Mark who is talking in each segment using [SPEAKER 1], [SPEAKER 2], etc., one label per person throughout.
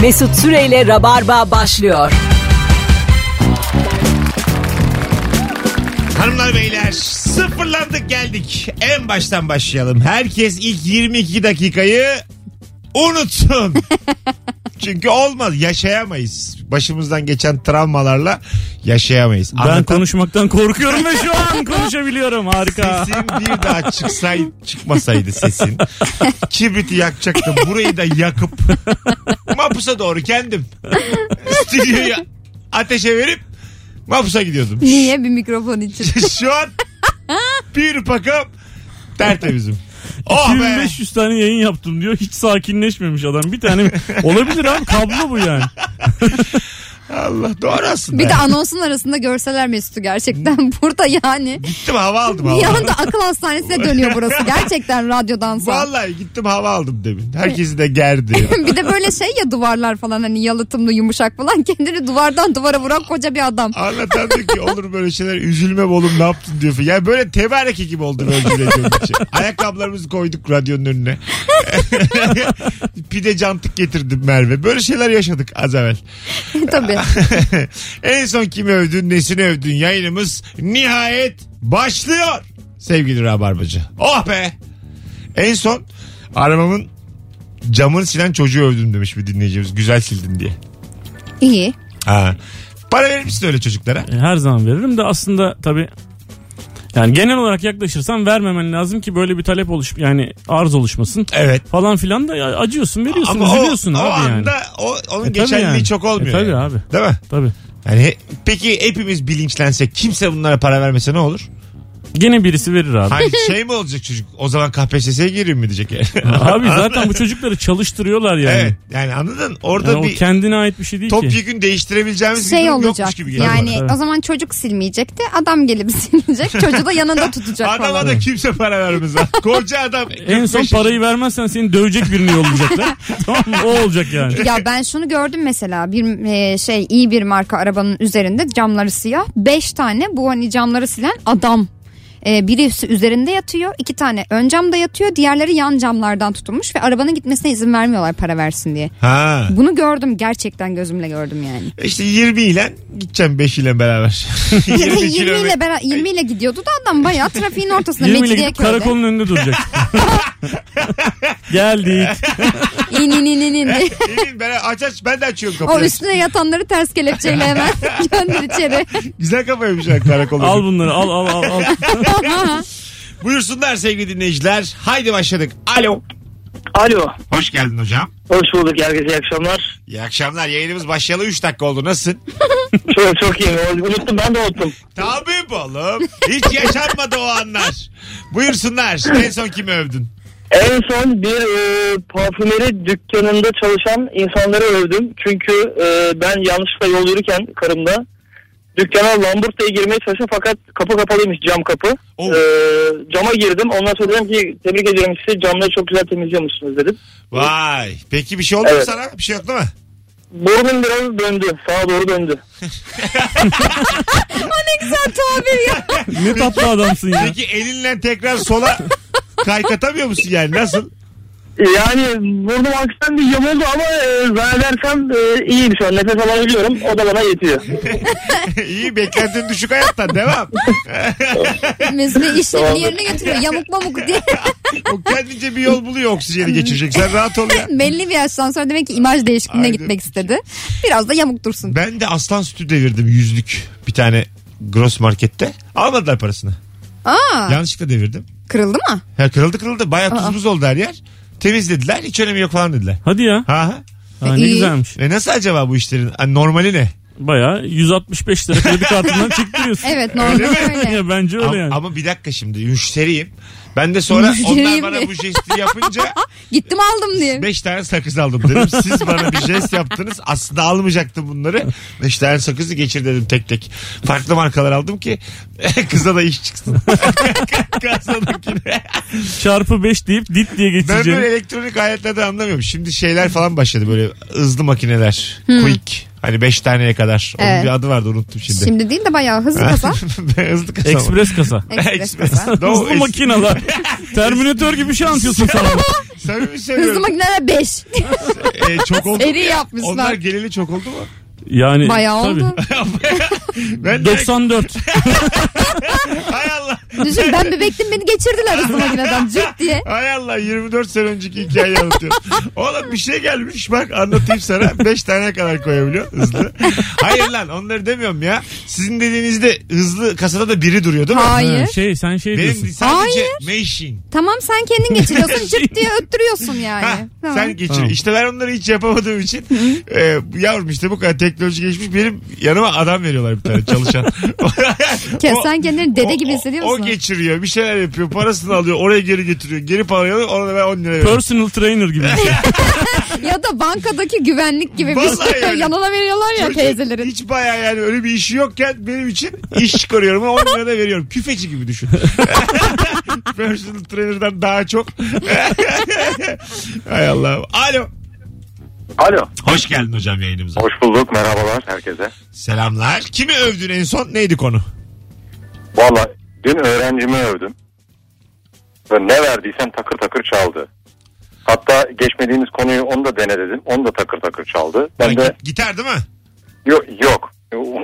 [SPEAKER 1] Mesut Süreyle Rabarba başlıyor.
[SPEAKER 2] Hanımlar beyler sıfırlandık geldik. En baştan başlayalım. Herkes ilk 22 dakikayı unutsun. Çünkü olmaz yaşayamayız. Başımızdan geçen travmalarla yaşayamayız.
[SPEAKER 3] Ben
[SPEAKER 2] Anlatan
[SPEAKER 3] konuşmaktan korkuyorum ve şu an konuşabiliyorum. Harika.
[SPEAKER 2] sesin bir daha çıksay, çıkmasaydı sesin. Kibriti yakacaktım. Burayı da yakıp mapusa doğru kendim stüdyoyu ateşe verip mapusa gidiyordum.
[SPEAKER 4] Niye bir mikrofon için?
[SPEAKER 2] Şu an bir pakam tertemizim. Oh be.
[SPEAKER 3] 2500 tane yayın yaptım diyor. Hiç sakinleşmemiş adam. Bir tane olabilir abi kablo bu yani.
[SPEAKER 2] Allah doğru aslında.
[SPEAKER 4] Bir de anonsun arasında görseler Mesut'u gerçekten. Burada yani
[SPEAKER 2] Gittim hava aldım
[SPEAKER 4] bir
[SPEAKER 2] hava.
[SPEAKER 4] anda akıl hastanesine dönüyor burası. Gerçekten radyodansa.
[SPEAKER 2] Vallahi gittim hava aldım demin. Herkesi de gerdi.
[SPEAKER 4] bir de böyle şey ya duvarlar falan hani yalıtımlı yumuşak falan kendini duvardan duvara vuran koca bir adam.
[SPEAKER 2] Anlatan diyor ki olur böyle şeyler üzülme oğlum ne yaptın diyor. Yani böyle tebareki gibi oldu böyle cümle için. Ayakkabılarımızı koyduk radyonun önüne. Pide cantık getirdim Merve. Böyle şeyler yaşadık az evvel.
[SPEAKER 4] Tabii.
[SPEAKER 2] en son kimi övdün, nesini övdün yayınımız nihayet başlıyor. Sevgili Rabarbacı. Oh be. En son aramamın camını silen çocuğu övdüm demiş bir dinleyicimiz. Güzel sildin diye.
[SPEAKER 4] İyi.
[SPEAKER 2] Ha. Para verir misin öyle çocuklara?
[SPEAKER 3] E, Her zaman veririm de aslında tabii yani genel olarak yaklaşırsan vermemen lazım ki böyle bir talep oluş yani arz oluşmasın.
[SPEAKER 2] Evet.
[SPEAKER 3] Falan filan da ya- acıyorsun veriyorsun
[SPEAKER 2] o-
[SPEAKER 3] üzülüyorsun
[SPEAKER 2] o,
[SPEAKER 3] abi yani.
[SPEAKER 2] anda o, onun
[SPEAKER 3] E, tabii
[SPEAKER 2] geçerliliği
[SPEAKER 3] yani.
[SPEAKER 2] çok olmuyor.
[SPEAKER 3] E, tabii
[SPEAKER 2] yani.
[SPEAKER 3] abi.
[SPEAKER 2] Değil mi?
[SPEAKER 3] Tabii.
[SPEAKER 2] Yani he- peki hepimiz bilinçlensek kimse bunlara para vermese ne olur?
[SPEAKER 3] Gene birisi verir abi.
[SPEAKER 2] Hani şey mi olacak çocuk? O zaman KPSS'ye gireyim mi diyecek yani?
[SPEAKER 3] Abi zaten bu çocukları çalıştırıyorlar yani.
[SPEAKER 2] Evet. Yani anladın? Orada
[SPEAKER 3] Yani o
[SPEAKER 2] bir
[SPEAKER 3] kendine ait bir şey değil ki.
[SPEAKER 2] topyekun değiştirebileceğimiz bir
[SPEAKER 4] Şey
[SPEAKER 2] durum
[SPEAKER 4] olacak.
[SPEAKER 2] yokmuş gibi geliyor.
[SPEAKER 4] Yani
[SPEAKER 3] bana. Evet.
[SPEAKER 4] o zaman çocuk silmeyecek de adam gelip silecek. Çocuğu da yanında tutacak
[SPEAKER 2] bana.
[SPEAKER 4] falan.
[SPEAKER 2] Adama da kimse para vermez. ha. Koca adam.
[SPEAKER 3] En son
[SPEAKER 2] 45
[SPEAKER 3] parayı vermezsen seni dövecek birini yollayacaklar. tamam mı? O olacak yani.
[SPEAKER 4] Ya ben şunu gördüm mesela bir e, şey iyi bir marka arabanın üzerinde camları siyah. Beş tane bu hani camları silen adam. E, birisi üzerinde yatıyor. iki tane ön camda yatıyor. Diğerleri yan camlardan tutulmuş ve arabanın gitmesine izin vermiyorlar para versin diye.
[SPEAKER 2] Ha.
[SPEAKER 4] Bunu gördüm gerçekten gözümle gördüm yani.
[SPEAKER 2] İşte 20 ile gideceğim 5 ile beraber.
[SPEAKER 4] 20,
[SPEAKER 2] 20
[SPEAKER 4] ile,
[SPEAKER 2] kilometre.
[SPEAKER 4] bera- 20 ile gidiyordu da adam bayağı trafiğin ortasında
[SPEAKER 3] 20 ile
[SPEAKER 4] Mecidiyeköy'de.
[SPEAKER 3] gidip karakolun önünde duracak. Geldik.
[SPEAKER 4] İn in in in in.
[SPEAKER 2] Emin ben aç aç ben de açıyorum
[SPEAKER 4] O
[SPEAKER 2] kapıyı.
[SPEAKER 4] üstüne yatanları ters kelepçeyle hemen gönder içeri.
[SPEAKER 2] Güzel kafaymış ha karakol.
[SPEAKER 3] Al bunları al al al. al.
[SPEAKER 2] Buyursunlar sevgili dinleyiciler. Haydi başladık. Alo.
[SPEAKER 5] Alo.
[SPEAKER 2] Hoş geldin hocam.
[SPEAKER 5] Hoş bulduk herkese iyi akşamlar.
[SPEAKER 2] İyi akşamlar. Yayınımız başlayalı 3 dakika oldu. Nasılsın?
[SPEAKER 5] Çok çok iyi. Unuttum ben de unuttum.
[SPEAKER 2] Tabii oğlum. Hiç yaşanmadı o anlar. Buyursunlar. En son kimi övdün?
[SPEAKER 5] En son bir e, parfümeri dükkanında çalışan insanları övdüm. Çünkü e, ben yanlışlıkla yol yürürken karımda dükkana Lambert'e girmeye çalıştım fakat kapı kapalıymış cam kapı.
[SPEAKER 2] Oh.
[SPEAKER 5] E, cama girdim. Ondan sonra dedim ki tebrik ediyorum sizi camları çok güzel temizliyormuşsunuz dedim.
[SPEAKER 2] Vay. Peki bir şey oldu mu
[SPEAKER 5] Evet.
[SPEAKER 2] sana? Bir şey yok değil mi?
[SPEAKER 5] Burnum biraz döndü. Sağa doğru döndü.
[SPEAKER 4] Sen tabir ya.
[SPEAKER 3] Ne tatlı adamsın ya.
[SPEAKER 2] Peki elinle tekrar sola kaykatamıyor musun yani? Nasıl?
[SPEAKER 5] Yani burnum aksan bir cam oldu ama e, zannedersem e, iyiyim şu an. Nefes alabiliyorum. O da bana yetiyor.
[SPEAKER 2] İyi beklentin düşük hayattan devam.
[SPEAKER 4] Mesut'u işlerini
[SPEAKER 5] Tamamdır.
[SPEAKER 4] yerine getiriyor. Yamuk mamuk diye.
[SPEAKER 2] O kendince bir yol buluyor oksijeni geçirecek. Sen rahat ol ya.
[SPEAKER 4] Belli bir yaştan sonra demek ki imaj değişikliğine
[SPEAKER 2] Aynen.
[SPEAKER 4] gitmek istedi. Biraz da yamuk dursun.
[SPEAKER 2] Ben de aslan sütü devirdim yüzlük bir tane gross markette. Almadılar parasını.
[SPEAKER 4] Aa,
[SPEAKER 2] Yanlışlıkla devirdim.
[SPEAKER 4] kırıldı mı?
[SPEAKER 2] Ha, kırıldı kırıldı. Bayağı tuz buz oldu her yer. Temizlediler. Hiç önemi yok falan dediler.
[SPEAKER 3] Hadi ya.
[SPEAKER 2] Ha, ha.
[SPEAKER 3] Ha, ne
[SPEAKER 4] İyi.
[SPEAKER 3] güzelmiş.
[SPEAKER 2] E nasıl acaba bu işlerin? Ha, normali ne?
[SPEAKER 3] Baya 165 lira kredi kartından çıktırıyorsun.
[SPEAKER 4] Evet normal öyle.
[SPEAKER 3] Ya bence
[SPEAKER 2] Ama,
[SPEAKER 3] öyle yani.
[SPEAKER 2] ama bir dakika şimdi müşteriyim. Ben de sonra onlar
[SPEAKER 4] Müşteriyim
[SPEAKER 2] bana
[SPEAKER 4] mi?
[SPEAKER 2] bu jesti yapınca
[SPEAKER 4] Gittim aldım diye.
[SPEAKER 2] 5 tane sakız aldım dedim. Siz bana bir jest yaptınız. Aslında almayacaktım bunları. 5 tane sakızı geçir dedim tek tek. Farklı markalar aldım ki kıza da iş çıksın. Kazadakine.
[SPEAKER 3] Çarpı 5 deyip dit diye
[SPEAKER 2] Ben böyle
[SPEAKER 3] geçeceğim.
[SPEAKER 2] elektronik aletlerden anlamıyorum. Şimdi şeyler falan başladı böyle hızlı makineler. Quick. Hani 5 taneye kadar. Onun
[SPEAKER 4] Evet.
[SPEAKER 2] bir adı vardı unuttum şimdi.
[SPEAKER 4] Şimdi değil de bayağı hızlı kasa.
[SPEAKER 2] Hızlı kasa. mı?
[SPEAKER 3] Ekspres kasa.
[SPEAKER 4] Ekspres kasa.
[SPEAKER 2] No,
[SPEAKER 3] Hızlı
[SPEAKER 2] es-
[SPEAKER 3] makineler. Terminatör gibi bir şey anlatıyorsun sana.
[SPEAKER 2] Samimi
[SPEAKER 4] Hızlı
[SPEAKER 2] söylüyorum.
[SPEAKER 4] makineler 5.
[SPEAKER 2] E, çok oldu.
[SPEAKER 4] Seri
[SPEAKER 2] mu ya?
[SPEAKER 4] yapmışlar.
[SPEAKER 2] Onlar geleli çok oldu mu?
[SPEAKER 3] Yani
[SPEAKER 4] Bayağı
[SPEAKER 3] tabii.
[SPEAKER 4] oldu.
[SPEAKER 2] Ben direkt-
[SPEAKER 3] 94.
[SPEAKER 2] hay Allah.
[SPEAKER 4] Düşün ben bebektim beni geçirdiler hızlı makineden cırt diye.
[SPEAKER 2] Hay Allah 24 sene önceki hikayeyi anlatıyorum. Oğlum bir şey gelmiş bak anlatayım sana. 5 tane kadar koyabiliyor hızlı. Hayır lan onları demiyorum ya. Sizin dediğinizde hızlı kasada da biri duruyor değil mi?
[SPEAKER 3] Ha,
[SPEAKER 4] Hayır.
[SPEAKER 3] Şey sen şey diyorsun.
[SPEAKER 2] Benim sadece machine.
[SPEAKER 4] Tamam sen kendin geçiriyorsun cırt diye öttürüyorsun
[SPEAKER 2] Ha,
[SPEAKER 4] yani. Tamam.
[SPEAKER 2] sen geçir.
[SPEAKER 3] Tamam.
[SPEAKER 2] İşte ben onları hiç yapamadığım için e, yavrum işte bu kadar teknoloji geçmiş benim yanıma adam veriyorlar bir tane çalışan.
[SPEAKER 4] Ke-
[SPEAKER 2] O-
[SPEAKER 4] sen kendini dede
[SPEAKER 2] o-
[SPEAKER 4] gibi hissediyor musun?
[SPEAKER 2] O geçiriyor bir şeyler yapıyor parasını alıyor oraya geri getiriyor geri parayı alıyor ona da ben 10 lira veriyorum.
[SPEAKER 3] Personal trainer gibi. bir şey.
[SPEAKER 4] ya da bankadaki güvenlik gibi bir
[SPEAKER 2] Vallahi
[SPEAKER 4] şey.
[SPEAKER 2] yani.
[SPEAKER 4] Yanına veriyorlar ya
[SPEAKER 2] Çocuk
[SPEAKER 4] teyzelerin.
[SPEAKER 2] Hiç baya yani öyle bir işi yokken benim için iş çıkarıyorum ama 10 lira da veriyorum. Küfeci gibi düşün. Personal trainer'dan daha çok. Hay Allah'ım. Alo.
[SPEAKER 6] Alo.
[SPEAKER 2] Hoş geldin hocam yayınımıza.
[SPEAKER 6] Hoş bulduk. Merhabalar herkese.
[SPEAKER 2] Selamlar. Kimi övdün en son? Neydi konu?
[SPEAKER 6] Valla dün öğrencimi övdüm. Ve ne verdiysem takır takır çaldı. Hatta geçmediğimiz konuyu onu da dene dedim. Onu da takır takır çaldı. Ben
[SPEAKER 2] Ha,
[SPEAKER 6] de
[SPEAKER 2] gi- Gitar değil mi?
[SPEAKER 6] yok yok.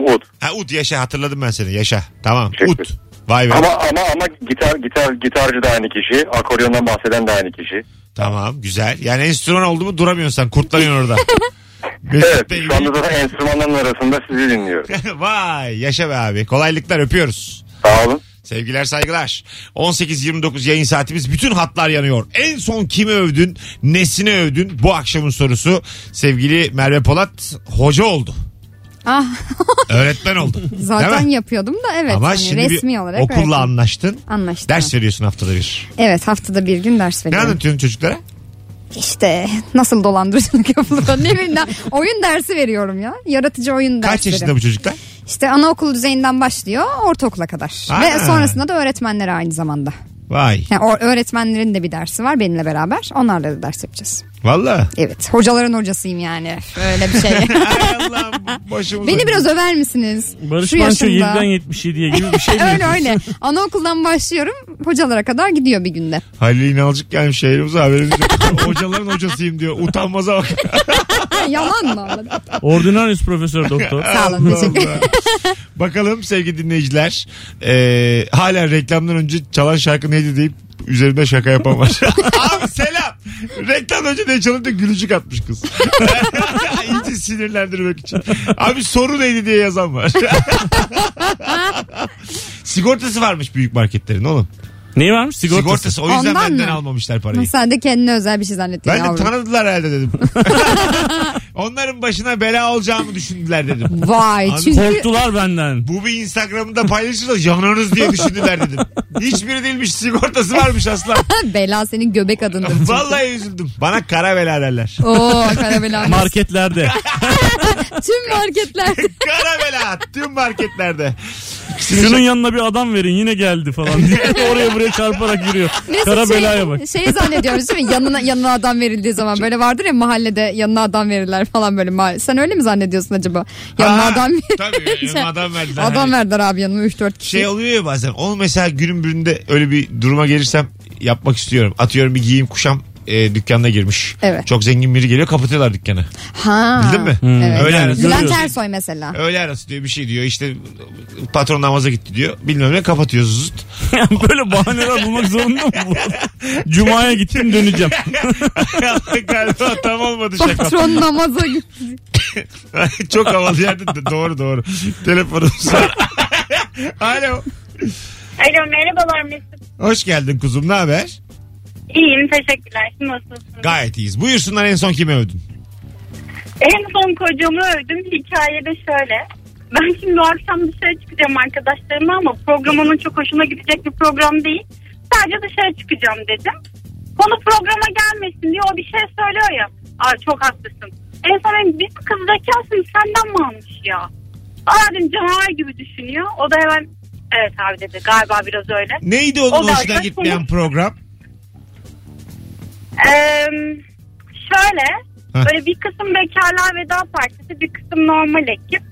[SPEAKER 6] Ud.
[SPEAKER 2] Ha Ut yaşa hatırladım ben seni. Yaşa. Tamam.
[SPEAKER 6] Teşekkür.
[SPEAKER 2] Ut. Vay be.
[SPEAKER 6] Ama ama ama gitar gitar gitarcı da aynı kişi, akoryondan bahseden de aynı kişi.
[SPEAKER 2] Tamam güzel. Yani enstrüman oldu mu duramıyorsun sen. Kurtlanıyorsun orada.
[SPEAKER 6] Evet,
[SPEAKER 2] Mesut Bey.
[SPEAKER 6] şu anda zaten enstrümanların arasında sizi dinliyorum.
[SPEAKER 2] Vay yaşa be abi. Kolaylıklar öpüyoruz.
[SPEAKER 6] Sağ olun.
[SPEAKER 2] Sevgiler saygılar. 18.29 yayın saatimiz bütün hatlar yanıyor. En son kimi övdün, nesini övdün bu akşamın sorusu sevgili Merve Polat hoca oldu.
[SPEAKER 4] Ah,
[SPEAKER 2] Öğretmen oldu.
[SPEAKER 4] zaten
[SPEAKER 2] Değil mi?
[SPEAKER 4] yapıyordum da evet.
[SPEAKER 2] Ama
[SPEAKER 4] hani
[SPEAKER 2] şimdi bir
[SPEAKER 4] resmi olarak
[SPEAKER 2] okulla
[SPEAKER 4] öğretmen.
[SPEAKER 2] anlaştın.
[SPEAKER 4] Anlaştım.
[SPEAKER 2] Ders veriyorsun haftada bir.
[SPEAKER 4] Evet haftada bir gün ders
[SPEAKER 2] Ne
[SPEAKER 4] veriyorum.
[SPEAKER 2] anlatıyorsun çocuklara?
[SPEAKER 4] İşte nasıl dolandırıcılık yapılır ne bileyim ben. oyun dersi veriyorum ya. Yaratıcı oyun dersleri.
[SPEAKER 2] Kaç yaşında bu çocuklar?
[SPEAKER 4] İşte anaokul düzeyinden başlıyor ortaokula kadar.
[SPEAKER 2] Ha.
[SPEAKER 4] Ve sonrasında da öğretmenlere aynı zamanda.
[SPEAKER 2] Vay.
[SPEAKER 4] Yani o- öğretmenlerin de bir dersi var benimle beraber. Onlarla da ders yapacağız.
[SPEAKER 2] Valla.
[SPEAKER 4] Evet hocaların hocasıyım yani. Öyle bir şey.
[SPEAKER 2] Ay Allah'ım başımıza.
[SPEAKER 4] Beni biraz över misiniz?
[SPEAKER 3] Barış
[SPEAKER 4] Şu
[SPEAKER 3] Manço
[SPEAKER 4] yaşımda.
[SPEAKER 3] 7'den 77'ye gibi bir şey mi?
[SPEAKER 4] öyle öyle. Anaokuldan başlıyorum hocalara kadar gidiyor bir günde.
[SPEAKER 2] Halil İnalcık gelmiş yayınımıza haberiniz yok. Hocaların hocasıyım diyor. Utanmaza bak.
[SPEAKER 4] Yalan mı? Allah?
[SPEAKER 3] Ordinarius profesör doktor.
[SPEAKER 4] Sağ olun
[SPEAKER 2] Allah
[SPEAKER 4] teşekkür
[SPEAKER 2] Allah. Bakalım sevgili dinleyiciler. Ee, hala reklamdan önce çalan şarkı neydi deyip üzerinde şaka yapan var. Abi selam. Reklam önce de çalınca gülücük atmış kız. İyice sinirlendirmek için. Abi soru neydi diye yazan var. Sigortası varmış büyük marketlerin oğlum.
[SPEAKER 3] Neyi varmış? Sigortası.
[SPEAKER 2] Sigortası. O yüzden
[SPEAKER 4] Ondan
[SPEAKER 2] benden
[SPEAKER 4] mı?
[SPEAKER 2] almamışlar parayı.
[SPEAKER 4] Sen de kendine özel bir şey zannettin
[SPEAKER 2] Ben de
[SPEAKER 4] yavrum.
[SPEAKER 2] tanıdılar herhalde dedim. Onların başına bela olacağımı düşündüler dedim.
[SPEAKER 4] Vay
[SPEAKER 2] Abi-
[SPEAKER 4] çünkü
[SPEAKER 3] Korktular benden.
[SPEAKER 2] Bu bir Instagram'da paylaşırsa yanarız diye düşündüler dedim. Hiçbiri değilmiş sigortası varmış aslan.
[SPEAKER 4] bela senin göbek adındır. çünkü.
[SPEAKER 2] Vallahi üzüldüm. Bana kara bela derler.
[SPEAKER 4] Oo karabela.
[SPEAKER 3] Marketlerde.
[SPEAKER 4] Tüm marketler.
[SPEAKER 2] Kara bela tüm marketlerde.
[SPEAKER 3] Şunun yanına bir adam verin yine geldi falan diye. Oraya buraya çarparak yürüyor.
[SPEAKER 4] Birisi
[SPEAKER 3] Kara
[SPEAKER 4] şey-
[SPEAKER 3] belaya bak.
[SPEAKER 4] Şeyi zannediyoruz değil mi? Yanına, yanına adam verildiği zaman böyle vardır ya mahallede yanına adam verirler falan böyle. mahalle- Sen öyle mi zannediyorsun acaba? Yanına
[SPEAKER 2] Aa,
[SPEAKER 4] adam ver-
[SPEAKER 2] Tabii yanıma adam verdiler.
[SPEAKER 4] Adam
[SPEAKER 2] Hani
[SPEAKER 4] verdiler abi yanıma 3-4 kişi.
[SPEAKER 2] Şey oluyor ya bazen. Onu mesela günün birinde öyle bir duruma gelirsem yapmak istiyorum. Atıyorum bir giyim kuşam e, dükkanına girmiş.
[SPEAKER 4] Evet.
[SPEAKER 2] Çok zengin biri geliyor kapatıyorlar dükkanı.
[SPEAKER 4] ha. Hmm.
[SPEAKER 2] Bildin mi?
[SPEAKER 4] Evet.
[SPEAKER 2] Öyle arası.
[SPEAKER 4] Bülent
[SPEAKER 3] Görüyorsun.
[SPEAKER 4] Ersoy mesela.
[SPEAKER 2] Öğle arası diyor bir şey diyor işte patron namaza gitti diyor. Bilmem ne kapatıyor zıt.
[SPEAKER 3] Yani böyle bahaneler bulmak zorunda mı? bu? Cuma'ya gittim döneceğim.
[SPEAKER 2] Galiba tam olmadı şaka.
[SPEAKER 4] Patron namaza gitti.
[SPEAKER 2] Çok havalı yerde de doğru doğru. Telefonumuz var. Alo.
[SPEAKER 7] Alo merhabalar Mesut.
[SPEAKER 2] Hoş geldin kuzum ne haber?
[SPEAKER 7] İyiyim teşekkürler. Siz nasılsınız?
[SPEAKER 2] Gayet iyiyiz. Buyursunlar en son kimi övdün?
[SPEAKER 7] En son kocamı övdüm. Hikayede şöyle. Ben şimdi bu akşam dışarı çıkacağım arkadaşlarımla ama program onun çok hoşuna gidecek bir program değil. Sadece dışarı çıkacağım dedim. Konu programa gelmesin diye o bir şey söylüyor ya. Aa çok haklısın. En son dedim, biz kız zekasını senden mi almış ya? Aa dedim canavar gibi düşünüyor. O da hemen evet abi dedi galiba biraz öyle.
[SPEAKER 2] Neydi onun
[SPEAKER 7] O da
[SPEAKER 2] hoşuna
[SPEAKER 7] arkadaş
[SPEAKER 2] gitmeyen
[SPEAKER 7] olmuş.
[SPEAKER 2] program?
[SPEAKER 7] Ee, şöyle
[SPEAKER 2] Heh.
[SPEAKER 7] Böyle bir kısım bekarlar veda partisi bir kısım normal ekip.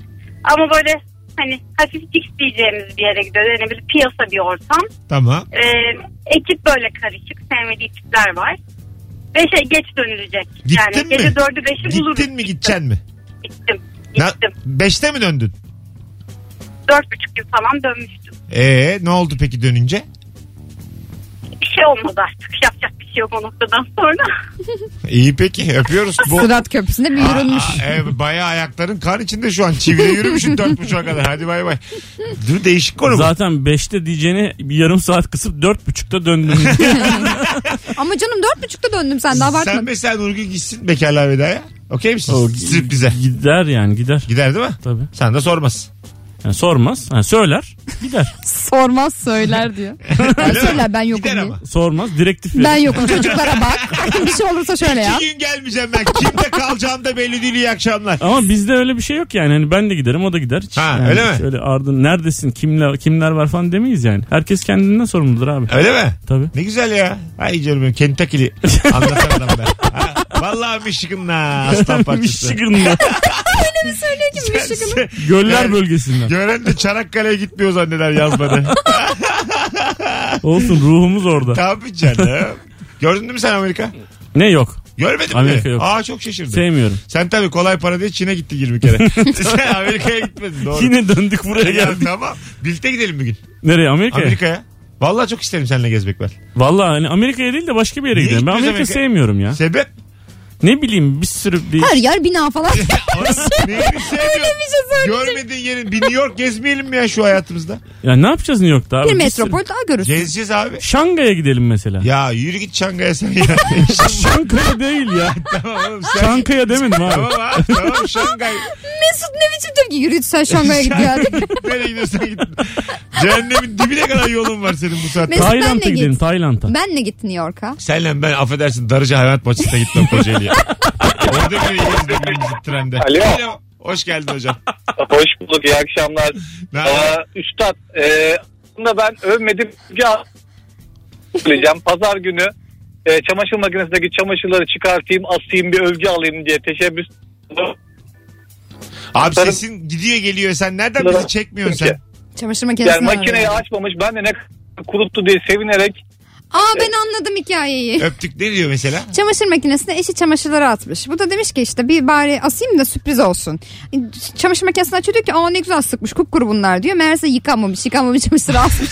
[SPEAKER 7] Ama böyle hani hafif cix diyeceğimiz bir yere gidiyoruz. Yani bir piyasa bir ortam.
[SPEAKER 2] Tamam.
[SPEAKER 7] Ee, ekip böyle karışık. Sevmediği tipler var. Ve şey geç dönülecek. yani
[SPEAKER 2] Gittin mi?
[SPEAKER 7] gece dördü beşi buluruz.
[SPEAKER 2] Gittin mi gideceksin mi?
[SPEAKER 7] Gittim.
[SPEAKER 2] Ne-
[SPEAKER 7] Gittim.
[SPEAKER 2] Beşte mi döndün?
[SPEAKER 7] Dört buçuk gün falan dönmüştüm.
[SPEAKER 2] Ee ne oldu peki dönünce?
[SPEAKER 7] Bir şey olmadı artık. Yapacak bir şey yok o noktadan sonra.
[SPEAKER 2] İyi peki öpüyoruz. Bu...
[SPEAKER 4] Sırat köprüsünde bir yürünmüş.
[SPEAKER 2] Aa, e, bayağı ayakların kan içinde şu an. Çivide yürümüşsün dört buçuğa kadar. Hadi bay bay. Dur değişik konu bu.
[SPEAKER 3] Zaten 5'te diyeceğini bir yarım saat kısıp 4.30'da döndüm.
[SPEAKER 4] Ama canım dört buçukta döndüm sen daha
[SPEAKER 2] Sen
[SPEAKER 4] abartma.
[SPEAKER 2] mesela Nurgül gitsin bekarlar vedaya. Okey misin?
[SPEAKER 3] O-
[SPEAKER 2] Sürprize.
[SPEAKER 3] gider yani gider.
[SPEAKER 2] Gider değil mi?
[SPEAKER 3] Tabii.
[SPEAKER 2] Sen de sormaz.
[SPEAKER 3] Yani sormaz. Ha, söyler. Gider.
[SPEAKER 4] Sormaz söyler diyor. ben
[SPEAKER 2] Öyle mi?
[SPEAKER 4] söyler ben yokum
[SPEAKER 2] Gider
[SPEAKER 4] diye.
[SPEAKER 2] ama.
[SPEAKER 3] Sormaz. Direktif verir.
[SPEAKER 4] Ben yokum çocuklara bak. bir şey olursa şöyle ya.
[SPEAKER 2] İki gün gelmeyeceğim ben. Kimde kalacağım da belli değil. İyi akşamlar.
[SPEAKER 3] Ama bizde öyle bir şey yok yani. Hani ben de giderim o da gider. Hiç
[SPEAKER 2] Ha,
[SPEAKER 3] yani
[SPEAKER 2] öyle mi?
[SPEAKER 3] hiç Öyle ardın neredesin kimler kimler var falan demeyiz yani. Herkes kendinden sorumludur abi.
[SPEAKER 2] Öyle mi?
[SPEAKER 3] Tabii.
[SPEAKER 2] Ne güzel ya. Ay canım benim Kentucky'li anlatan adam ben. Ha, vallahi Michigan'la aslan parçası.
[SPEAKER 3] Michigan'da.
[SPEAKER 2] Michigan.
[SPEAKER 3] Göller
[SPEAKER 2] Yani-
[SPEAKER 3] bölgesinden.
[SPEAKER 2] Gören de Çanakkale'ye gitmiyor zanneder yazmadı.
[SPEAKER 3] Olsun ruhumuz orada.
[SPEAKER 2] Tabii canım. Gördün mü sen Amerika?
[SPEAKER 3] Ne yok.
[SPEAKER 2] Görmedin
[SPEAKER 3] Amerika
[SPEAKER 2] mi?
[SPEAKER 3] yok.
[SPEAKER 2] Aa çok şaşırdım.
[SPEAKER 3] Sevmiyorum.
[SPEAKER 2] Sen tabii kolay para diye Çin'e gitti 20 kere. sen Amerika'ya gitmedin doğru.
[SPEAKER 3] Yine döndük buraya
[SPEAKER 2] Ya,
[SPEAKER 3] geldik.
[SPEAKER 2] tamam. Birlikte gidelim bir gün.
[SPEAKER 3] Nereye Amerika'ya?
[SPEAKER 2] Amerika'ya. Vallahi çok isterim seninle gezmek ben.
[SPEAKER 3] Vallahi hani Amerika'ya değil de başka bir yere
[SPEAKER 2] Niye
[SPEAKER 3] gidelim. Ben
[SPEAKER 2] gitmiyoruz
[SPEAKER 3] Amerika
[SPEAKER 2] Amerika'ya?
[SPEAKER 3] sevmiyorum ya.
[SPEAKER 2] Sebep?
[SPEAKER 3] Ne bileyim bir sürü bir
[SPEAKER 4] Her yer bina falan.
[SPEAKER 2] Oğlum, neyini sevmiyorsun?
[SPEAKER 4] bir şey söyleyeceğim.
[SPEAKER 2] Görmediğin yerin bir New York gezmeyelim mi ya şu hayatımızda?
[SPEAKER 3] Ya ne yapacağız New York'ta abi?
[SPEAKER 4] bir
[SPEAKER 3] sürü-
[SPEAKER 4] metropol daha görürsün.
[SPEAKER 2] Gezeceğiz abi.
[SPEAKER 3] Şangay'a gidelim mesela.
[SPEAKER 2] Ya yürü git Şangay'a sen ya.
[SPEAKER 3] Şangaya değil ya.
[SPEAKER 2] tamam oğlum sen.
[SPEAKER 3] Şangaya demedim abi.
[SPEAKER 2] tamam abi tamam Şangay.
[SPEAKER 4] Mesut ne biçim tepki? Yürü git sen Şangay'a git ya.
[SPEAKER 2] Nereye gidiyorsan git. Cehennemin dibine kadar yolun var senin bu saatte.
[SPEAKER 4] Mes-
[SPEAKER 3] Tayland'a
[SPEAKER 4] Benle
[SPEAKER 3] gidelim
[SPEAKER 4] git.
[SPEAKER 3] Tayland'a.
[SPEAKER 4] Benle git New York'a.
[SPEAKER 2] Senle ben affedersin Darıca Hayvanat Bahçesi'ne gitmem Kocaeli'ye. Orada göreyim de birinci trende.
[SPEAKER 5] Alo.
[SPEAKER 2] Hoş geldin hocam.
[SPEAKER 5] Hoş bulduk iyi akşamlar.
[SPEAKER 2] Ne haber?
[SPEAKER 5] Aa, üstad e, aslında ben övmedim. Ya, söyleyeceğim. Pazar günü e, çamaşır makinesindeki çamaşırları çıkartayım asayım bir övgü alayım diye teşebbüs.
[SPEAKER 2] Abi sesin gidiyor geliyor sen nereden bizi çekmiyorsun sen?
[SPEAKER 4] Çamaşır
[SPEAKER 5] Yani
[SPEAKER 4] makinesini
[SPEAKER 5] makineyi
[SPEAKER 4] arıyor.
[SPEAKER 5] açmamış ben de ne kadar kuruttu diye sevinerek
[SPEAKER 4] Aa ben anladım hikayeyi.
[SPEAKER 2] Öptük ne diyor mesela?
[SPEAKER 4] Çamaşır makinesine eşi çamaşırları atmış. Bu da demiş ki işte bir bari asayım da sürpriz olsun. Çamaşır makinesini açıyor diyor ki aa ne güzel sıkmış kupkuru bunlar diyor. Meğerse yıkamamış yıkamamış çamaşırı asmış.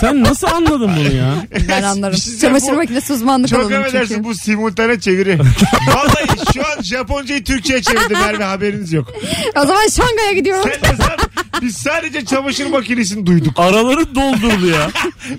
[SPEAKER 3] Sen nasıl anladın bunu ya?
[SPEAKER 4] ben anlarım.
[SPEAKER 2] Bir şey söyleyeyim,
[SPEAKER 4] çamaşır
[SPEAKER 2] bu-
[SPEAKER 4] makinesi uzmanlık
[SPEAKER 2] Çok
[SPEAKER 4] alanım çünkü.
[SPEAKER 2] affedersin bu simultane çeviri. Vallahi şu an Japoncayı Türkçe'ye çevirdi Merve haberiniz yok.
[SPEAKER 4] O zaman Şangay'a gidiyorum.
[SPEAKER 2] Sen de sen, biz sadece çamaşır makinesini duyduk.
[SPEAKER 3] Araları doldurdu ya.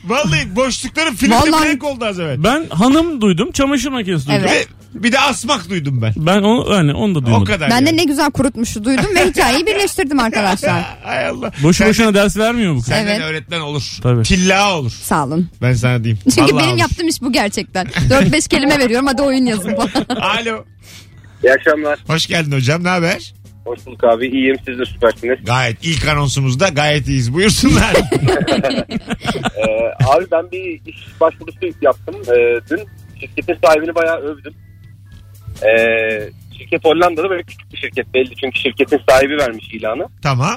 [SPEAKER 2] Vallahi boşlukların filmde
[SPEAKER 4] Vallahi-
[SPEAKER 2] blank oldu az evvel.
[SPEAKER 3] Ben hanım duydum, çamaşır makinesi duydum.
[SPEAKER 4] Evet.
[SPEAKER 2] Ve bir de asmak duydum ben.
[SPEAKER 3] Ben onu yani onu da duymadım.
[SPEAKER 2] O kadar.
[SPEAKER 4] Ben de
[SPEAKER 2] yani.
[SPEAKER 4] ne güzel kurutmuşu duydum ve hikayeyi birleştirdim arkadaşlar.
[SPEAKER 2] Hay Allah.
[SPEAKER 3] Boşu
[SPEAKER 2] Sen-
[SPEAKER 3] boşuna ders vermiyor bu kız.
[SPEAKER 2] Senden
[SPEAKER 4] Evet.
[SPEAKER 2] öğretmen olur.
[SPEAKER 3] Tabii.
[SPEAKER 2] Tilla olur.
[SPEAKER 4] Sağ olun.
[SPEAKER 2] Ben sana diyeyim.
[SPEAKER 4] Çünkü
[SPEAKER 2] Vallahi
[SPEAKER 4] benim
[SPEAKER 2] olur.
[SPEAKER 4] yaptığım iş bu gerçekten. 4-5 kelime veriyorum hadi oyun yazın falan.
[SPEAKER 2] Alo.
[SPEAKER 8] İyi akşamlar.
[SPEAKER 2] Hoş geldin hocam. Ne haber?
[SPEAKER 8] Hoş bulduk abi. İyiyim. Siz de süpersiniz.
[SPEAKER 2] Gayet ilk anonsumuzda gayet iyiyiz. Buyursunlar.
[SPEAKER 8] Ee, abi ben bir iş başvurusu yaptım. Ee, dün şirketin sahibini bayağı övdüm. Ee, şirket Hollanda'da böyle küçük bir şirket belli. Çünkü şirketin sahibi vermiş ilanı.
[SPEAKER 2] tamam.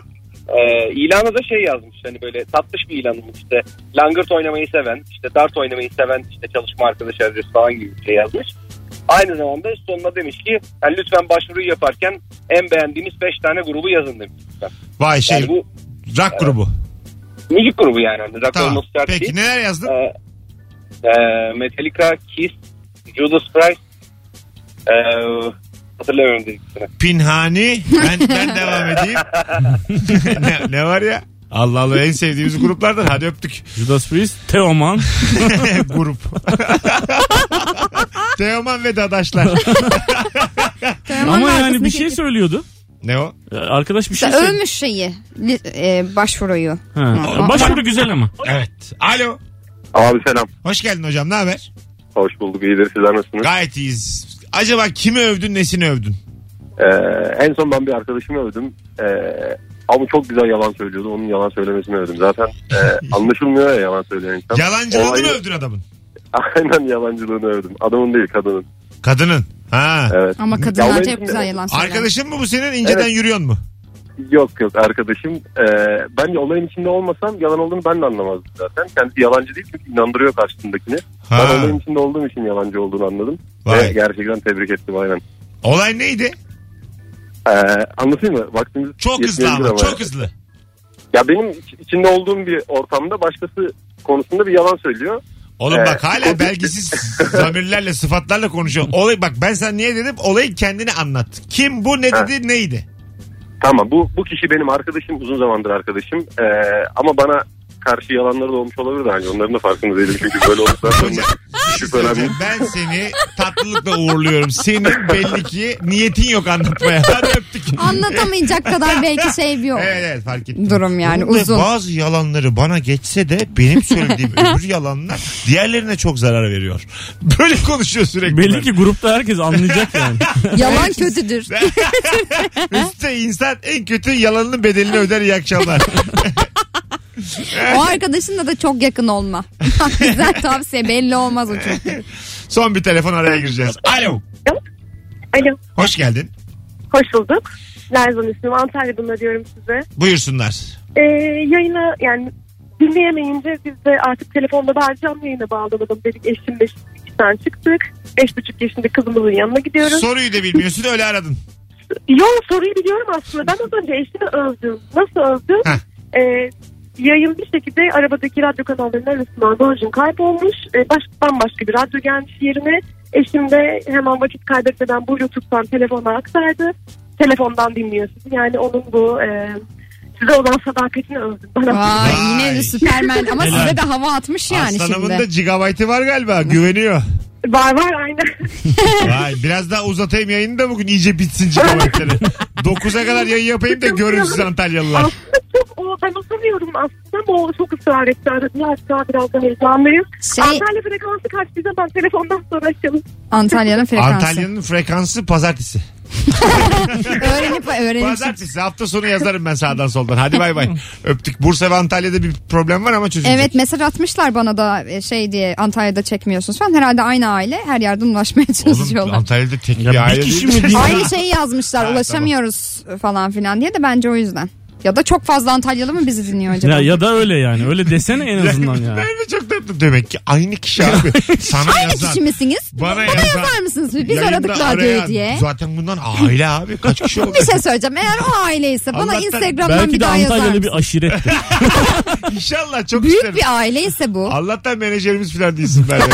[SPEAKER 8] Ee, ilana da şey yazmış. Hani böyle tatlış bir ilanmış. işte. Langırt oynamayı seven, işte dart oynamayı seven, işte çalışma arkadaşı adresi falan gibi bir şey yazmış. Aynı zamanda sonuna demiş ki yani lütfen başvuruyu yaparken en beğendiğiniz 5 tane grubu yazın demiş.
[SPEAKER 2] Vay şey
[SPEAKER 8] Yani bu
[SPEAKER 2] rock grubu.
[SPEAKER 8] müzik grubu yani. Hani rock
[SPEAKER 2] Tamam.
[SPEAKER 8] olması şart değil.
[SPEAKER 2] Peki neler yazdın?
[SPEAKER 8] Ee, e, Metallica, Kiss, Judas Priest. E, hatırlamıyorum dediklerini.
[SPEAKER 2] Pinhani. Ben, ben devam edeyim. ne, ne var ya? Allah Allah en sevdiğimiz gruplardan. Hadi öptük.
[SPEAKER 3] Judas Priest, Teoman.
[SPEAKER 2] Grup. Teoman ve Dadaşlar.
[SPEAKER 3] Ama yani bir şey söylüyordu.
[SPEAKER 2] Ne o?
[SPEAKER 3] Ee, Arkadaş bir şey
[SPEAKER 4] İşte
[SPEAKER 3] söyledi.
[SPEAKER 4] övmüş şeyi li- e, başvuruyu.
[SPEAKER 3] Ha. Başvuru güzel ama.
[SPEAKER 2] Evet. Alo.
[SPEAKER 6] Abi selam.
[SPEAKER 2] Hoş geldin hocam. Ne haber?
[SPEAKER 6] Hoş bulduk. iyidir Sizler nasılsınız?
[SPEAKER 2] Gayet iyiyiz. Acaba kimi övdün, nesini övdün?
[SPEAKER 6] Ee, en son ben bir arkadaşımı övdüm. Ee, ama çok güzel yalan söylüyordu. Onun yalan söylemesini övdüm. Zaten e, anlaşılmıyor ya yalan söyleyen insan.
[SPEAKER 2] Yalancılığını
[SPEAKER 6] Olayı-
[SPEAKER 2] övdün adamın.
[SPEAKER 6] Aynen yalancılığını övdüm. Adamın değil kadının.
[SPEAKER 2] Kadının. Ha.
[SPEAKER 9] Evet.
[SPEAKER 4] Ama kadınlar
[SPEAKER 9] Yalvarıp-
[SPEAKER 4] hep güzel yalan söyler.
[SPEAKER 2] Arkadaşın mı bu senin? İnceden
[SPEAKER 9] Evet.
[SPEAKER 2] yürüyorsun mu?
[SPEAKER 9] Yok yok arkadaşım. Ee, ben olayın içinde olmasam yalan olduğunu ben de anlamazdım zaten. Kendisi yalancı değil çünkü inandırıyor karşısındakini.
[SPEAKER 2] Ha.
[SPEAKER 9] Ben olayın içinde olduğum için yalancı olduğunu anladım.
[SPEAKER 2] Vay.
[SPEAKER 9] Ve gerçekten tebrik ettim aynen.
[SPEAKER 2] Olay neydi?
[SPEAKER 9] Ee, anlatayım mı? Vaktimiz
[SPEAKER 2] Çok hızlı
[SPEAKER 9] yetmeyebilir
[SPEAKER 2] ama çok hızlı.
[SPEAKER 9] Ya benim iç- içinde olduğum bir ortamda başkası konusunda bir yalan söylüyor.
[SPEAKER 2] Oğlum
[SPEAKER 9] Ee,
[SPEAKER 2] bak hala
[SPEAKER 9] o-
[SPEAKER 2] belgisiz zamirlerle sıfatlarla konuşuyor. Olay bak ben sana niye dedim olayı kendini anlat. Kim bu ne
[SPEAKER 9] Ha.
[SPEAKER 2] dedi neydi?
[SPEAKER 9] Tamam bu bu kişi benim arkadaşım uzun zamandır arkadaşım. Ee, ama bana karşı yalanları da olmuş olabilir de hani onların da farkında değilim çünkü böyle olduktan sonra şüphelendim.
[SPEAKER 2] Ben seni tatlılıkla uğurluyorum. Senin belli ki niyetin yok anlatmaya. Hadi öptük.
[SPEAKER 4] Anlatamayacak kadar belki şey bir yok.
[SPEAKER 2] Evet evet fark ettim.
[SPEAKER 4] Durum yani,
[SPEAKER 2] Bunun da
[SPEAKER 4] uzun.
[SPEAKER 2] Bazı yalanları bana geçse de benim söylediğim öbür yalanlar diğerlerine çok zarar veriyor. Böyle konuşuyor sürekli.
[SPEAKER 3] Belli ki grupta herkes anlayacak yani.
[SPEAKER 4] Yalan kötüdür.
[SPEAKER 2] Üstte insan en kötü yalanının bedelini öder iyi akşamlar.
[SPEAKER 4] O arkadaşınla da çok yakın olma. güzel tavsiye belli olmaz o çünkü.
[SPEAKER 2] Son bir telefon araya gireceğiz. Alo.
[SPEAKER 10] Alo,
[SPEAKER 2] Hoş geldin.
[SPEAKER 10] hoş bulduk. Lerzan ismim, Antalya'dan arıyorum size.
[SPEAKER 2] Buyursunlar.
[SPEAKER 10] Ee, yayına yani dinleyemeyince biz de artık telefonda daha canlı yayına bağlanalım dedik. Eşimle işten çıktık. Beş buçuk yaşında kızımızın yanına gidiyoruz.
[SPEAKER 2] Soruyu da bilmiyorsun öyle aradın.
[SPEAKER 10] Yo soruyu biliyorum aslında. Ben az önce eşimi övdüm. Nasıl övdüm?
[SPEAKER 2] Heh.
[SPEAKER 10] Ee, yayın bir şekilde arabadaki radyo kanallarının arasından doğrucun kaybolmuş. Ee, baş, bambaşka bir radyo gelmiş yerine. Eşim de hemen vakit kaybetmeden Bluetooth'tan telefona aktardı. Telefondan dinliyorsunuz. Yani onun bu e, size olan sadakatini övdüm. Bana
[SPEAKER 4] Vay,
[SPEAKER 2] Vay.
[SPEAKER 4] yine de Süpermen ama
[SPEAKER 3] Helal.
[SPEAKER 4] size de hava atmış yani
[SPEAKER 2] Aslanımın da
[SPEAKER 4] şimdi.
[SPEAKER 2] gigabaytı var galiba güveniyor.
[SPEAKER 10] var var aynen.
[SPEAKER 2] Vay biraz daha uzatayım yayını da bugün iyice bitsin gigabaytları. 9'a kadar yayın yapayım da görün siz Antalyalılar.
[SPEAKER 10] aslında çok o, ben utanıyorum aslında ama o çok ısrar etti. Aradım hatta biraz da heyecanlıyım.
[SPEAKER 4] Şey-
[SPEAKER 10] Antalya frekansı kaçtıysa ben telefondan sonra açalım.
[SPEAKER 4] Antalya'nın frekansı.
[SPEAKER 2] Antalya'nın frekansı pazartesi.
[SPEAKER 4] Öğrenip öğrenip.
[SPEAKER 2] Pazartesi hafta sonu yazarım ben sağdan soldan. Hadi bay bay. Öptük. Bursa ve Antalya'da bir problem var ama çözülecek.
[SPEAKER 4] Evet mesaj atmışlar bana da e, şey diye Antalya'da çekmiyorsunuz falan. Herhalde aynı aile her yerden ulaşmaya
[SPEAKER 2] Oğlum
[SPEAKER 4] çalışıyorlar.
[SPEAKER 2] Antalya'da tek
[SPEAKER 3] Ya
[SPEAKER 2] bir
[SPEAKER 3] bir
[SPEAKER 2] aile
[SPEAKER 3] kişi mi
[SPEAKER 2] değil.
[SPEAKER 3] değil?
[SPEAKER 4] Aynı şey. şeyi yazmışlar
[SPEAKER 2] Ha,
[SPEAKER 4] ulaşamıyoruz falan filan diye de bence o yüzden. Ya da çok fazla Antalyalı mı bizi dinliyor acaba?
[SPEAKER 3] ya, ya da öyle yani. Öyle desene en azından ya.
[SPEAKER 2] Ben de çok tatlı demek ki aynı kişi abi. Sana
[SPEAKER 4] Aynı
[SPEAKER 2] yazan.
[SPEAKER 4] kişi misiniz?
[SPEAKER 2] Bana
[SPEAKER 4] Bana
[SPEAKER 2] yazan.
[SPEAKER 4] yazar mısınız? Biz
[SPEAKER 2] yayında
[SPEAKER 4] aradık radyoyu
[SPEAKER 2] arayan-
[SPEAKER 4] diye.
[SPEAKER 2] Zaten bundan aile abi kaç kişi oldu?
[SPEAKER 4] Bir şey söyleyeceğim. Eğer o aileyse bana
[SPEAKER 2] Allah'tan-
[SPEAKER 4] Instagram'dan
[SPEAKER 3] Belki
[SPEAKER 4] bir
[SPEAKER 3] de
[SPEAKER 4] daha yazar
[SPEAKER 3] Antalya'da
[SPEAKER 4] mısın?
[SPEAKER 3] bir aşirettir.
[SPEAKER 2] İnşallah çok isterim.
[SPEAKER 4] Büyük bir aileyse bu.
[SPEAKER 2] Allah'tan menajerimiz falan değilsin ben. de.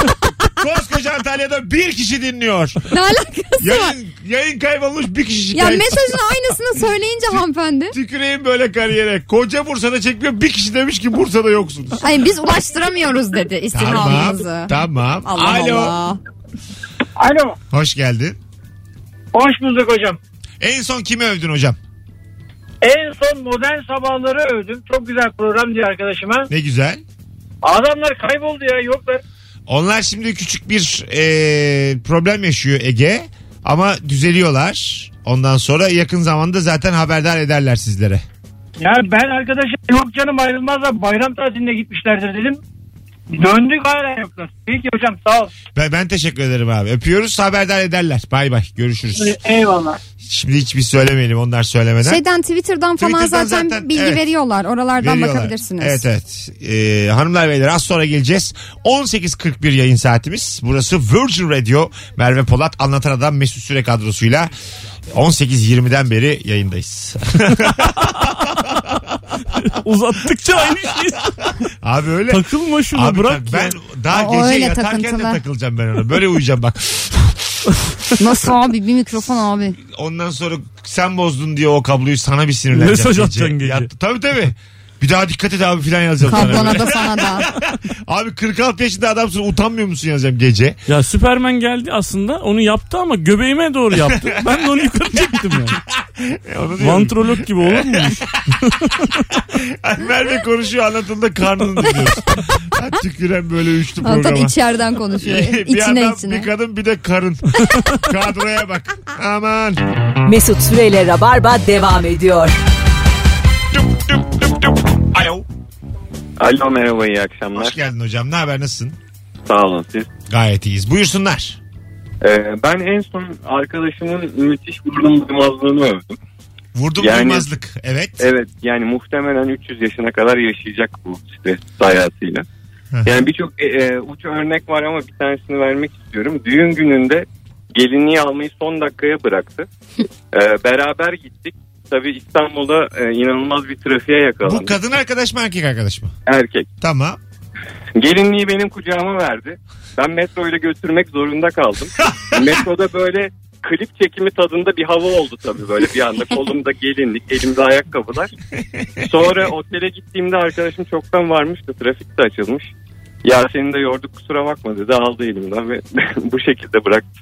[SPEAKER 2] Koskoca Antalya'da bir kişi dinliyor.
[SPEAKER 4] Ne alakası var?
[SPEAKER 2] Yayın, yayın kaybolmuş bir kişi
[SPEAKER 4] Ya
[SPEAKER 2] şikayet.
[SPEAKER 4] mesajın aynısını söyleyince hanımefendi.
[SPEAKER 2] Tüküreyim böyle kariyere. Koca Bursa'da çekmiyor. Bir kişi demiş ki Bursa'da yoksunuz.
[SPEAKER 4] Ay biz ulaştıramıyoruz dedi
[SPEAKER 2] Tamam.
[SPEAKER 4] istinamınızı.
[SPEAKER 2] Tamam.
[SPEAKER 4] Allah
[SPEAKER 2] Alo.
[SPEAKER 4] Allah.
[SPEAKER 5] Alo.
[SPEAKER 2] Hoş geldin.
[SPEAKER 5] Hoş bulduk hocam.
[SPEAKER 2] En son kimi övdün hocam?
[SPEAKER 5] En son modern sabahları övdüm. Çok güzel program diye arkadaşıma.
[SPEAKER 2] Ne güzel.
[SPEAKER 5] Adamlar kayboldu ya yoklar.
[SPEAKER 2] Onlar şimdi küçük bir e, problem yaşıyor Ege. Ama düzeliyorlar. Ondan sonra yakın zamanda zaten haberdar ederler sizlere.
[SPEAKER 5] Ya ben arkadaşım yok canım ayrılmazlar bayram tatiline gitmişlerdir dedim. Döndük hala yoklar. Peki hocam sağ ol.
[SPEAKER 2] Ben, ben teşekkür ederim abi. Öpüyoruz haberdar ederler. Bay bay görüşürüz.
[SPEAKER 5] Eyvallah.
[SPEAKER 2] Şimdi hiçbir söylemeyelim onlar söylemeden.
[SPEAKER 4] Şeyden Twitter'dan falan
[SPEAKER 2] Twitter'dan
[SPEAKER 4] zaten,
[SPEAKER 2] zaten,
[SPEAKER 4] bilgi
[SPEAKER 2] evet.
[SPEAKER 4] veriyorlar. Oralardan
[SPEAKER 2] Veriyorlar.
[SPEAKER 4] bakabilirsiniz.
[SPEAKER 2] Evet evet. Ee, hanımlar beyler az sonra geleceğiz. 18.41 yayın saatimiz. Burası Virgin Radio. Merve Polat anlatan adam Mesut Süre kadrosuyla 18.20'den beri yayındayız.
[SPEAKER 3] Uzattıkça aynı şey.
[SPEAKER 2] Abi öyle.
[SPEAKER 3] Takılma şuna
[SPEAKER 2] Abi
[SPEAKER 3] bırak
[SPEAKER 2] tak-
[SPEAKER 3] ya.
[SPEAKER 2] ben daha
[SPEAKER 4] Aa, o
[SPEAKER 2] gece
[SPEAKER 4] öyle
[SPEAKER 2] yatarken
[SPEAKER 4] takıntılı.
[SPEAKER 2] de takılacağım ben ona. Böyle uyuyacağım bak.
[SPEAKER 4] Nasıl abi bir mikrofon abi.
[SPEAKER 2] Ondan sonra sen bozdun diye o kabloyu sana bir sinirleneceğim.
[SPEAKER 3] Mesaj atacaksın gece.
[SPEAKER 2] Yat- Tabii tabii. Bir daha dikkat et abi filan yazacağım sana.
[SPEAKER 4] Kablona da sana da.
[SPEAKER 2] Abi 46 yaşında adamsın utanmıyor musun yazacağım gece.
[SPEAKER 3] Ya Süpermen geldi aslında onu yaptı ama göbeğime doğru yaptı. Ben de onu yukarı çektim yani.
[SPEAKER 2] E, onu diyorum.
[SPEAKER 3] Vantrolog gibi olur mu?
[SPEAKER 2] Merve konuşuyor anlatıldı karnını dinliyorsun. Ha, Tüküren böyle üçlü
[SPEAKER 4] Adam
[SPEAKER 2] programa.
[SPEAKER 4] içeriden konuşuyor.
[SPEAKER 2] bir
[SPEAKER 4] içine
[SPEAKER 2] adam
[SPEAKER 4] içine.
[SPEAKER 2] bir kadın bir de karın. Kadroya bak. Aman.
[SPEAKER 1] Mesut Süreyle Rabarba devam ediyor.
[SPEAKER 2] Dup, dup, dup, dup. Alo.
[SPEAKER 9] Alo merhaba iyi akşamlar.
[SPEAKER 2] Hoş geldin hocam. Ne haber nasılsın?
[SPEAKER 9] Sağ olun siz.
[SPEAKER 2] Gayet iyiyiz. Buyursunlar.
[SPEAKER 1] Ee, ben en son arkadaşımın müthiş vurdum duymazlığını övdüm.
[SPEAKER 2] Vurdum
[SPEAKER 1] Yani-
[SPEAKER 2] duymazlık. Evet.
[SPEAKER 1] Evet yani muhtemelen 300 yaşına kadar yaşayacak bu stres hayatıyla. Yani birçok e, e, uç örnek var ama bir tanesini vermek istiyorum. Düğün gününde gelinliği almayı son dakikaya bıraktı. Ee, beraber gittik. Tabii İstanbul'da e, inanılmaz bir trafiğe yakalandık.
[SPEAKER 2] Bu kadın arkadaş mı erkek arkadaş mı?
[SPEAKER 1] Erkek.
[SPEAKER 2] Tamam.
[SPEAKER 1] Gelinliği benim kucağıma verdi. Ben metroyla götürmek zorunda kaldım. Metroda böyle klip çekimi tadında bir hava oldu tabii böyle bir anda. Kolumda gelinlik, elimde ayakkabılar. Sonra otele gittiğimde arkadaşım çoktan varmıştı. Trafik de açılmış. Ya seni de yorduk kusura bakma dedi aldı elimden ve bu şekilde bıraktı.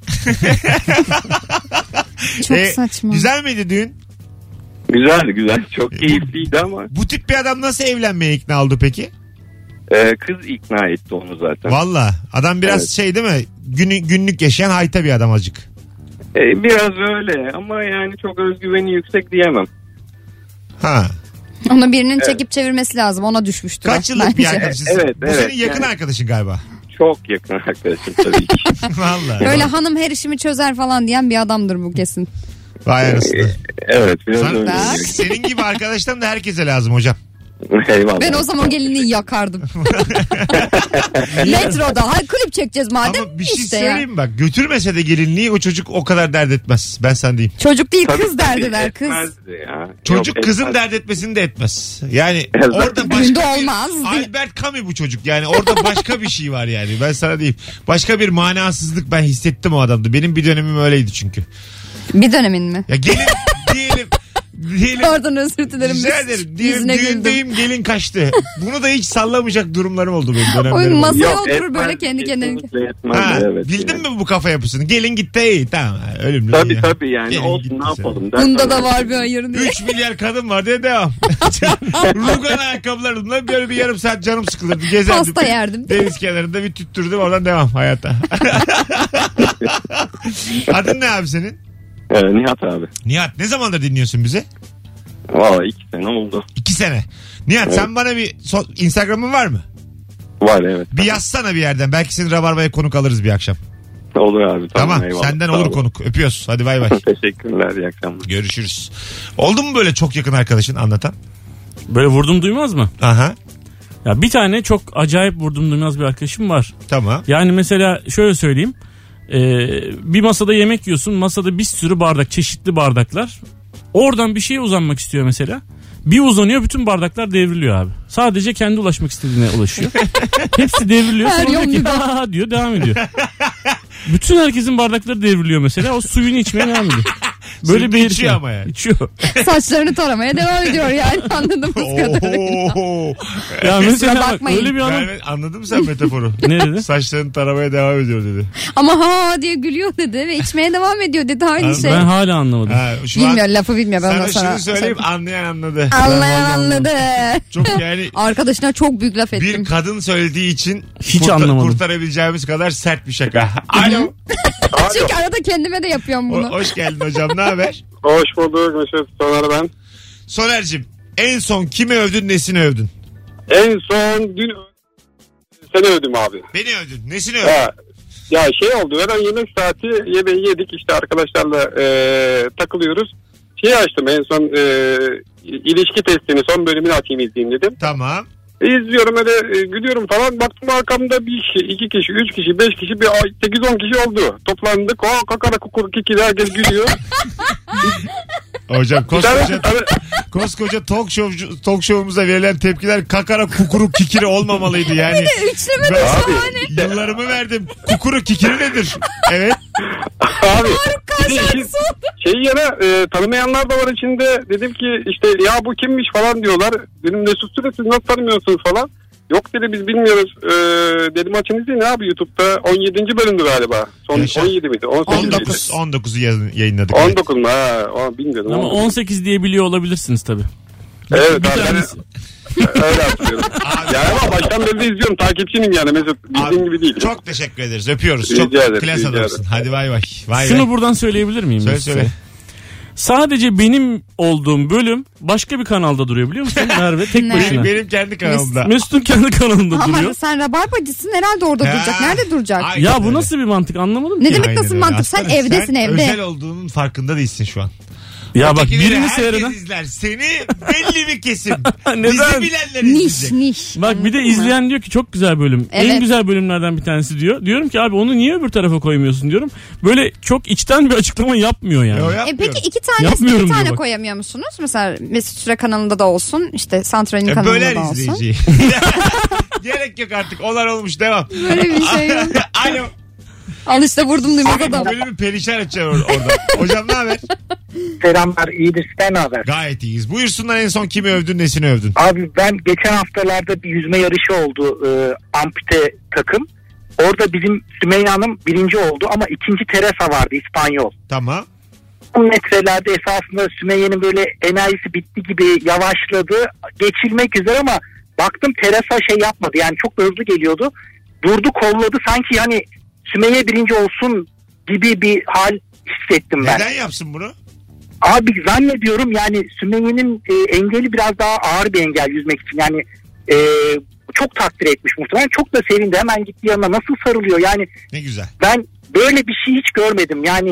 [SPEAKER 4] Çok
[SPEAKER 2] Ee,
[SPEAKER 4] saçma.
[SPEAKER 2] Güzel miydi düğün?
[SPEAKER 1] Güzeldi güzel çok keyifliydi ama
[SPEAKER 2] Bu tip bir adam nasıl evlenmeye ikna oldu peki?
[SPEAKER 1] e, kız ikna etti onu zaten.
[SPEAKER 2] Valla adam biraz
[SPEAKER 1] Evet.
[SPEAKER 2] şey değil mi? Günü, günlük yaşayan hayta bir adam azıcık.
[SPEAKER 1] E, biraz öyle ama yani çok özgüveni yüksek diyemem.
[SPEAKER 2] Ha.
[SPEAKER 4] Ona birinin çekip çevirmesi lazım. Ona düşmüştür.
[SPEAKER 2] Kaç
[SPEAKER 4] o,
[SPEAKER 2] yıllık bir
[SPEAKER 4] bence.
[SPEAKER 2] arkadaşısın?
[SPEAKER 1] Evet,
[SPEAKER 2] Bu
[SPEAKER 1] evet,
[SPEAKER 2] senin yakın
[SPEAKER 1] yani.
[SPEAKER 2] arkadaşın galiba.
[SPEAKER 1] Çok yakın arkadaşım tabii ki.
[SPEAKER 2] Valla.
[SPEAKER 4] Böyle hanım her işimi çözer falan diyen bir adamdır bu kesin.
[SPEAKER 2] Vay anasını.
[SPEAKER 1] Ee, Evet biraz
[SPEAKER 2] Sen-
[SPEAKER 1] öyle.
[SPEAKER 4] Bak.
[SPEAKER 2] Senin gibi arkadaşlarım da herkese lazım hocam.
[SPEAKER 1] Eyvallah.
[SPEAKER 4] Ben o zaman gelinliği yakardım. Metroda. Hay klip çekeceğiz madem.
[SPEAKER 2] Ama bir şey
[SPEAKER 4] işte ya.
[SPEAKER 2] söyleyeyim mi bak. Götürmese de gelinliği o çocuk o kadar dert etmez. Ben sana diyeyim.
[SPEAKER 4] Çocuk değil
[SPEAKER 1] Tabii,
[SPEAKER 4] kız
[SPEAKER 1] tabii,
[SPEAKER 4] derdiler kız.
[SPEAKER 1] etmezdi ya.
[SPEAKER 2] Çocuk
[SPEAKER 1] Yok,
[SPEAKER 2] kızın
[SPEAKER 1] etmez.
[SPEAKER 2] dert etmesini de etmez. Yani
[SPEAKER 1] Evet.
[SPEAKER 2] orada
[SPEAKER 4] Günde
[SPEAKER 2] başka bir...
[SPEAKER 4] olmaz.
[SPEAKER 2] Albert Camus bu çocuk yani orada başka bir şey var yani ben sana diyeyim. Başka bir manasızlık ben hissettim o adamda. Benim bir dönemim öyleydi çünkü.
[SPEAKER 4] Bir dönemin mi?
[SPEAKER 2] Ya gelin diyelim diyelim
[SPEAKER 4] Oradan özür dilerim.
[SPEAKER 2] Rica ederim. Diyelim
[SPEAKER 4] Yüzüne güldüm.
[SPEAKER 2] düğündeyim gelin kaçtı. Bunu da hiç sallamayacak durumlarım oldu benim
[SPEAKER 4] Oy,
[SPEAKER 2] dönemlerim. oldu.
[SPEAKER 4] mas- Masaya oturur
[SPEAKER 1] etmez,
[SPEAKER 4] böyle kendi kendine.
[SPEAKER 1] kesinlikle etmez,
[SPEAKER 2] Ha,
[SPEAKER 1] evet.
[SPEAKER 2] bildin
[SPEAKER 1] yani.
[SPEAKER 2] mi bu kafa yapısını? Gelin gitti iyi tamam ölümlü.
[SPEAKER 1] Tabii tabii yani
[SPEAKER 2] Gelin
[SPEAKER 1] olsun
[SPEAKER 2] gitti
[SPEAKER 1] ne yapalım. der.
[SPEAKER 4] Bunda da var bir hayır diye.
[SPEAKER 2] 3 milyar kadın var diye devam. Rugan ayakkabılarımla böyle bir yarım saat canım sıkılırdı. Gezerdim.
[SPEAKER 4] Pasta yerdim.
[SPEAKER 2] Deniz kenarında bir tüttürdüm oradan devam hayata. Adın ne abi senin?
[SPEAKER 1] Ee, Nihat abi.
[SPEAKER 2] Nihat ne zamandır dinliyorsun bizi?
[SPEAKER 1] Valla iki sene oldu.
[SPEAKER 2] 2 sene. Nihat sen bana bir so- Instagram'ın var mı?
[SPEAKER 1] Var evet.
[SPEAKER 2] Bir yazsana bir yerden. Belki seni Rabarba'ya konuk alırız bir akşam.
[SPEAKER 1] Olur abi. Tamam,
[SPEAKER 2] Tamam.
[SPEAKER 1] eyvallah.
[SPEAKER 2] Senden
[SPEAKER 1] Sağ
[SPEAKER 2] olur
[SPEAKER 1] olun.
[SPEAKER 2] konuk. Öpüyoruz. Hadi bay bay.
[SPEAKER 1] Teşekkürler iyi akşamlar.
[SPEAKER 2] Görüşürüz. Oldu mu böyle çok yakın arkadaşın anlatan?
[SPEAKER 3] Böyle vurdum duymaz mı?
[SPEAKER 2] Aha.
[SPEAKER 3] Ya bir tane çok acayip vurdum duymaz bir arkadaşım var.
[SPEAKER 2] Tamam.
[SPEAKER 3] Yani mesela şöyle söyleyeyim. Ee, bir masada yemek yiyorsun. Masada bir sürü bardak, çeşitli bardaklar. Oradan bir şeye uzanmak istiyor mesela. Bir uzanıyor bütün bardaklar devriliyor abi. Sadece kendi ulaşmak istediğine ulaşıyor. Hepsi devriliyor.
[SPEAKER 4] Her
[SPEAKER 3] Sonra diyor ki,
[SPEAKER 4] yolunu da-
[SPEAKER 3] "Ha ha" diyor devam ediyor. Bütün herkesin bardakları devriliyor mesela. O suyunu içmeye devam ediyor. Böyle
[SPEAKER 2] Suyunu
[SPEAKER 3] bir herif
[SPEAKER 2] içiyor
[SPEAKER 3] var.
[SPEAKER 2] ama yani.
[SPEAKER 3] İçiyor.
[SPEAKER 4] Saçlarını taramaya devam ediyor yani anladığımız kadarıyla.
[SPEAKER 2] Oho.
[SPEAKER 3] Ya mesela bak,
[SPEAKER 4] bakmayın.
[SPEAKER 3] öyle bir adam.
[SPEAKER 2] Yani anladın mı sen metaforu?
[SPEAKER 3] Ne dedi?
[SPEAKER 2] Saçlarını taramaya devam ediyor dedi.
[SPEAKER 4] Ama ha diye gülüyor dedi ve içmeye devam ediyor dedi aynı şey.
[SPEAKER 3] Ben hala anlamadım.
[SPEAKER 2] Ha, şu
[SPEAKER 4] Bilmiyor
[SPEAKER 2] an
[SPEAKER 4] lafı bilmiyor ben
[SPEAKER 2] sana
[SPEAKER 4] ondan sonra.
[SPEAKER 2] şunu söyleyeyim anlayan anladı.
[SPEAKER 4] Anlayan anladı.
[SPEAKER 2] Çok yani
[SPEAKER 4] Arkadaşına çok büyük laf ettim.
[SPEAKER 2] bir kadın söylediği için
[SPEAKER 3] Hiç anlamadım.
[SPEAKER 2] kurtarabileceğimiz kadar sert bir şaka. Alo.
[SPEAKER 4] Çünkü arada kendime de yapıyorum
[SPEAKER 2] O-
[SPEAKER 4] bunu.
[SPEAKER 2] hoş geldin hocam ne haber?
[SPEAKER 9] Hoş bulduk Mesut Soner ben.
[SPEAKER 2] Soner'cim en son kimi övdün nesini övdün?
[SPEAKER 9] En son dün seni ödüm abi.
[SPEAKER 2] Beni övdün. Nesini övdün?
[SPEAKER 9] Ya, ya şey oldu hemen yemek saati yemeği yedik işte arkadaşlarla e, takılıyoruz. Şey açtım en son e, ilişki testini son bölümünü açayım izleyeyim dedim.
[SPEAKER 2] Tamam.
[SPEAKER 9] E, İzliyorum öyle e, gülüyorum falan baktım arkamda bir kişi, iki kişi, üç kişi, beş kişi, bir 8-10 kişi oldu. Toplandık o kakara kukur kiki herkes gülüyor.
[SPEAKER 2] Hocam
[SPEAKER 9] Bir tane-
[SPEAKER 2] koskoca, koskoca talk, show, talk show'umuza verilen tepkiler kakara kukuru kikiri olmamalıydı yani.
[SPEAKER 4] Üçleme de
[SPEAKER 2] Ben
[SPEAKER 4] şahane.
[SPEAKER 2] yıllarımı verdim. Kukuru kikiri nedir? Evet.
[SPEAKER 9] Abi. bir de işin- Şey yana e, tanımayanlar da var içinde. Dedim ki işte ya bu kimmiş falan diyorlar. Dedim Mesut Süre siz nasıl tanımıyorsunuz falan. Yok dedi biz bilmiyoruz. E, dedim açın izleyin abi YouTube'da 17. bölümdü galiba. Son
[SPEAKER 2] Yaşa.
[SPEAKER 9] 17 miydi? 18 miydi?
[SPEAKER 2] 19 19'u yayın- yayınladık.
[SPEAKER 9] 19 mu? Ha, o, bilmiyordum.
[SPEAKER 3] Ama
[SPEAKER 9] 19.
[SPEAKER 3] 18 diye biliyor olabilirsiniz tabii.
[SPEAKER 9] Evet
[SPEAKER 3] Bir
[SPEAKER 9] abi ben
[SPEAKER 3] tanesi.
[SPEAKER 9] öyle hatırlıyorum.
[SPEAKER 2] Abi-
[SPEAKER 9] yani ama baştan beri de izliyorum. Takipçinim yani Mesut. Bildiğin
[SPEAKER 2] Abi,
[SPEAKER 9] gibi değil.
[SPEAKER 2] Çok teşekkür ederiz. Öpüyoruz.
[SPEAKER 9] Rica
[SPEAKER 2] Çok
[SPEAKER 9] ederim,
[SPEAKER 2] klas
[SPEAKER 9] rica
[SPEAKER 2] adamsın. Hadi bay bay. Vay
[SPEAKER 3] Şunu
[SPEAKER 2] be.
[SPEAKER 3] buradan söyleyebilir miyim?
[SPEAKER 2] Söyle
[SPEAKER 3] ben size?
[SPEAKER 2] söyle.
[SPEAKER 3] Sadece benim olduğum bölüm başka bir kanalda duruyor biliyor musun Merve? Tek
[SPEAKER 4] Ne?
[SPEAKER 3] başına.
[SPEAKER 2] Benim kendi kanalımda.
[SPEAKER 3] Mesut'un kendi kanalında
[SPEAKER 4] Ama
[SPEAKER 3] duruyor.
[SPEAKER 4] sen rabarbacısın herhalde orada
[SPEAKER 2] Ha.
[SPEAKER 4] duracak. Nerede duracak?
[SPEAKER 2] Ay,
[SPEAKER 3] Ya bu
[SPEAKER 2] öyle.
[SPEAKER 3] nasıl bir mantık anlamadım
[SPEAKER 4] Ne
[SPEAKER 3] ki.
[SPEAKER 4] demek
[SPEAKER 2] Aynen
[SPEAKER 4] nasıl
[SPEAKER 2] öyle.
[SPEAKER 4] mantık? Sen
[SPEAKER 2] Aslında
[SPEAKER 4] evdesin
[SPEAKER 2] sen
[SPEAKER 4] evde.
[SPEAKER 2] özel olduğunun farkında değilsin şu an.
[SPEAKER 3] Ya bak
[SPEAKER 2] Ötekileri
[SPEAKER 3] birini
[SPEAKER 2] herkes
[SPEAKER 3] seyreden.
[SPEAKER 2] izler. Seni belli bir kesim. Bizi
[SPEAKER 3] Neden?
[SPEAKER 2] bilenler
[SPEAKER 4] Niş
[SPEAKER 2] izleyecek.
[SPEAKER 4] niş.
[SPEAKER 3] Bak bir de
[SPEAKER 4] Anladın mı?
[SPEAKER 3] izleyen diyor ki çok güzel bölüm. En
[SPEAKER 4] Evet.
[SPEAKER 3] güzel bölümlerden bir tanesi diyor. Diyorum ki abi onu niye öbür tarafa koymuyorsun diyorum. Böyle çok içten bir açıklama yapmıyor yani.
[SPEAKER 2] Yo,
[SPEAKER 4] E
[SPEAKER 2] yapmıyorum.
[SPEAKER 4] peki iki tane
[SPEAKER 3] Yapmıyorum
[SPEAKER 4] iki
[SPEAKER 3] diyor
[SPEAKER 4] tane
[SPEAKER 3] bak.
[SPEAKER 4] koyamıyor musunuz? Mesela Mesut Süre kanalında da olsun, işte Santral'in
[SPEAKER 2] E,
[SPEAKER 4] kanalında
[SPEAKER 2] böler
[SPEAKER 4] da olsun.
[SPEAKER 2] izleyiciyi. Gerek yok artık. Olan olmuş devam.
[SPEAKER 4] Böyle bir şey yok.
[SPEAKER 2] Alo.
[SPEAKER 4] Al işte vurdum duymaz adam.
[SPEAKER 2] Bölümü perişan edeceksin or- orada. Hocam ne haber?
[SPEAKER 5] Selamlar iyidir sen haber?
[SPEAKER 2] Gayet iyiyiz. Buyursunlar en son kimi övdün nesini övdün?
[SPEAKER 5] Abi ben geçen haftalarda bir yüzme yarışı oldu e, ampute takım. Orada bizim Sümeyye Hanım birinci oldu ama ikinci Teresa vardı İspanyol.
[SPEAKER 2] Tamam.
[SPEAKER 5] Bu metrelerde esasında Sümeyye'nin böyle enerjisi bitti gibi yavaşladı. Geçilmek üzere ama baktım Teresa şey yapmadı yani çok da hızlı geliyordu. Durdu kolladı sanki hani Sümeyye birinci olsun gibi bir hal hissettim ben.
[SPEAKER 2] Neden yapsın bunu?
[SPEAKER 5] Abi zannediyorum yani Sümeyye'nin e, engeli biraz daha ağır bir engel yüzmek için. Yani e, çok takdir etmiş muhtemelen. Çok da sevindi. Hemen gitti yanına. Nasıl sarılıyor? Yani
[SPEAKER 2] Ne güzel.
[SPEAKER 5] ben böyle bir şey hiç görmedim. Yani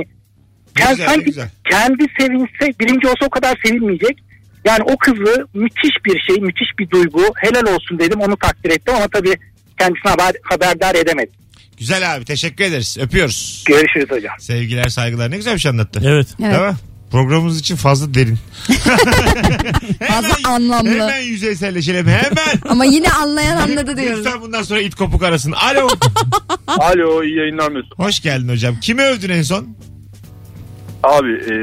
[SPEAKER 2] Ne
[SPEAKER 5] kend-
[SPEAKER 2] güzel, ne
[SPEAKER 5] sanki
[SPEAKER 2] güzel.
[SPEAKER 5] kendi sevinse birinci olsa o kadar sevinmeyecek. Yani o kızı müthiş bir şey, müthiş bir duygu. Helal olsun dedim. Onu takdir ettim ama tabii kendisini haber, haberdar edemedim.
[SPEAKER 2] Güzel abi teşekkür ederiz. Öpüyoruz.
[SPEAKER 5] Görüşürüz hocam.
[SPEAKER 2] Sevgiler saygılar. Ne güzel bir şey anlattı.
[SPEAKER 3] Evet.
[SPEAKER 4] Evet.
[SPEAKER 2] Değil mi? Programımız için fazla derin.
[SPEAKER 4] Fazla
[SPEAKER 2] Hemen-
[SPEAKER 4] anlamlı.
[SPEAKER 2] Hemen yüzeyselleşelim. Hemen.
[SPEAKER 4] Ama yine anlayan anladı diyoruz.
[SPEAKER 2] Lütfen bundan sonra it kopuk arasın. Alo.
[SPEAKER 11] Alo iyi yayınlar Mesut.
[SPEAKER 2] Hoş geldin hocam. Kimi övdün en son?
[SPEAKER 11] Abi ee,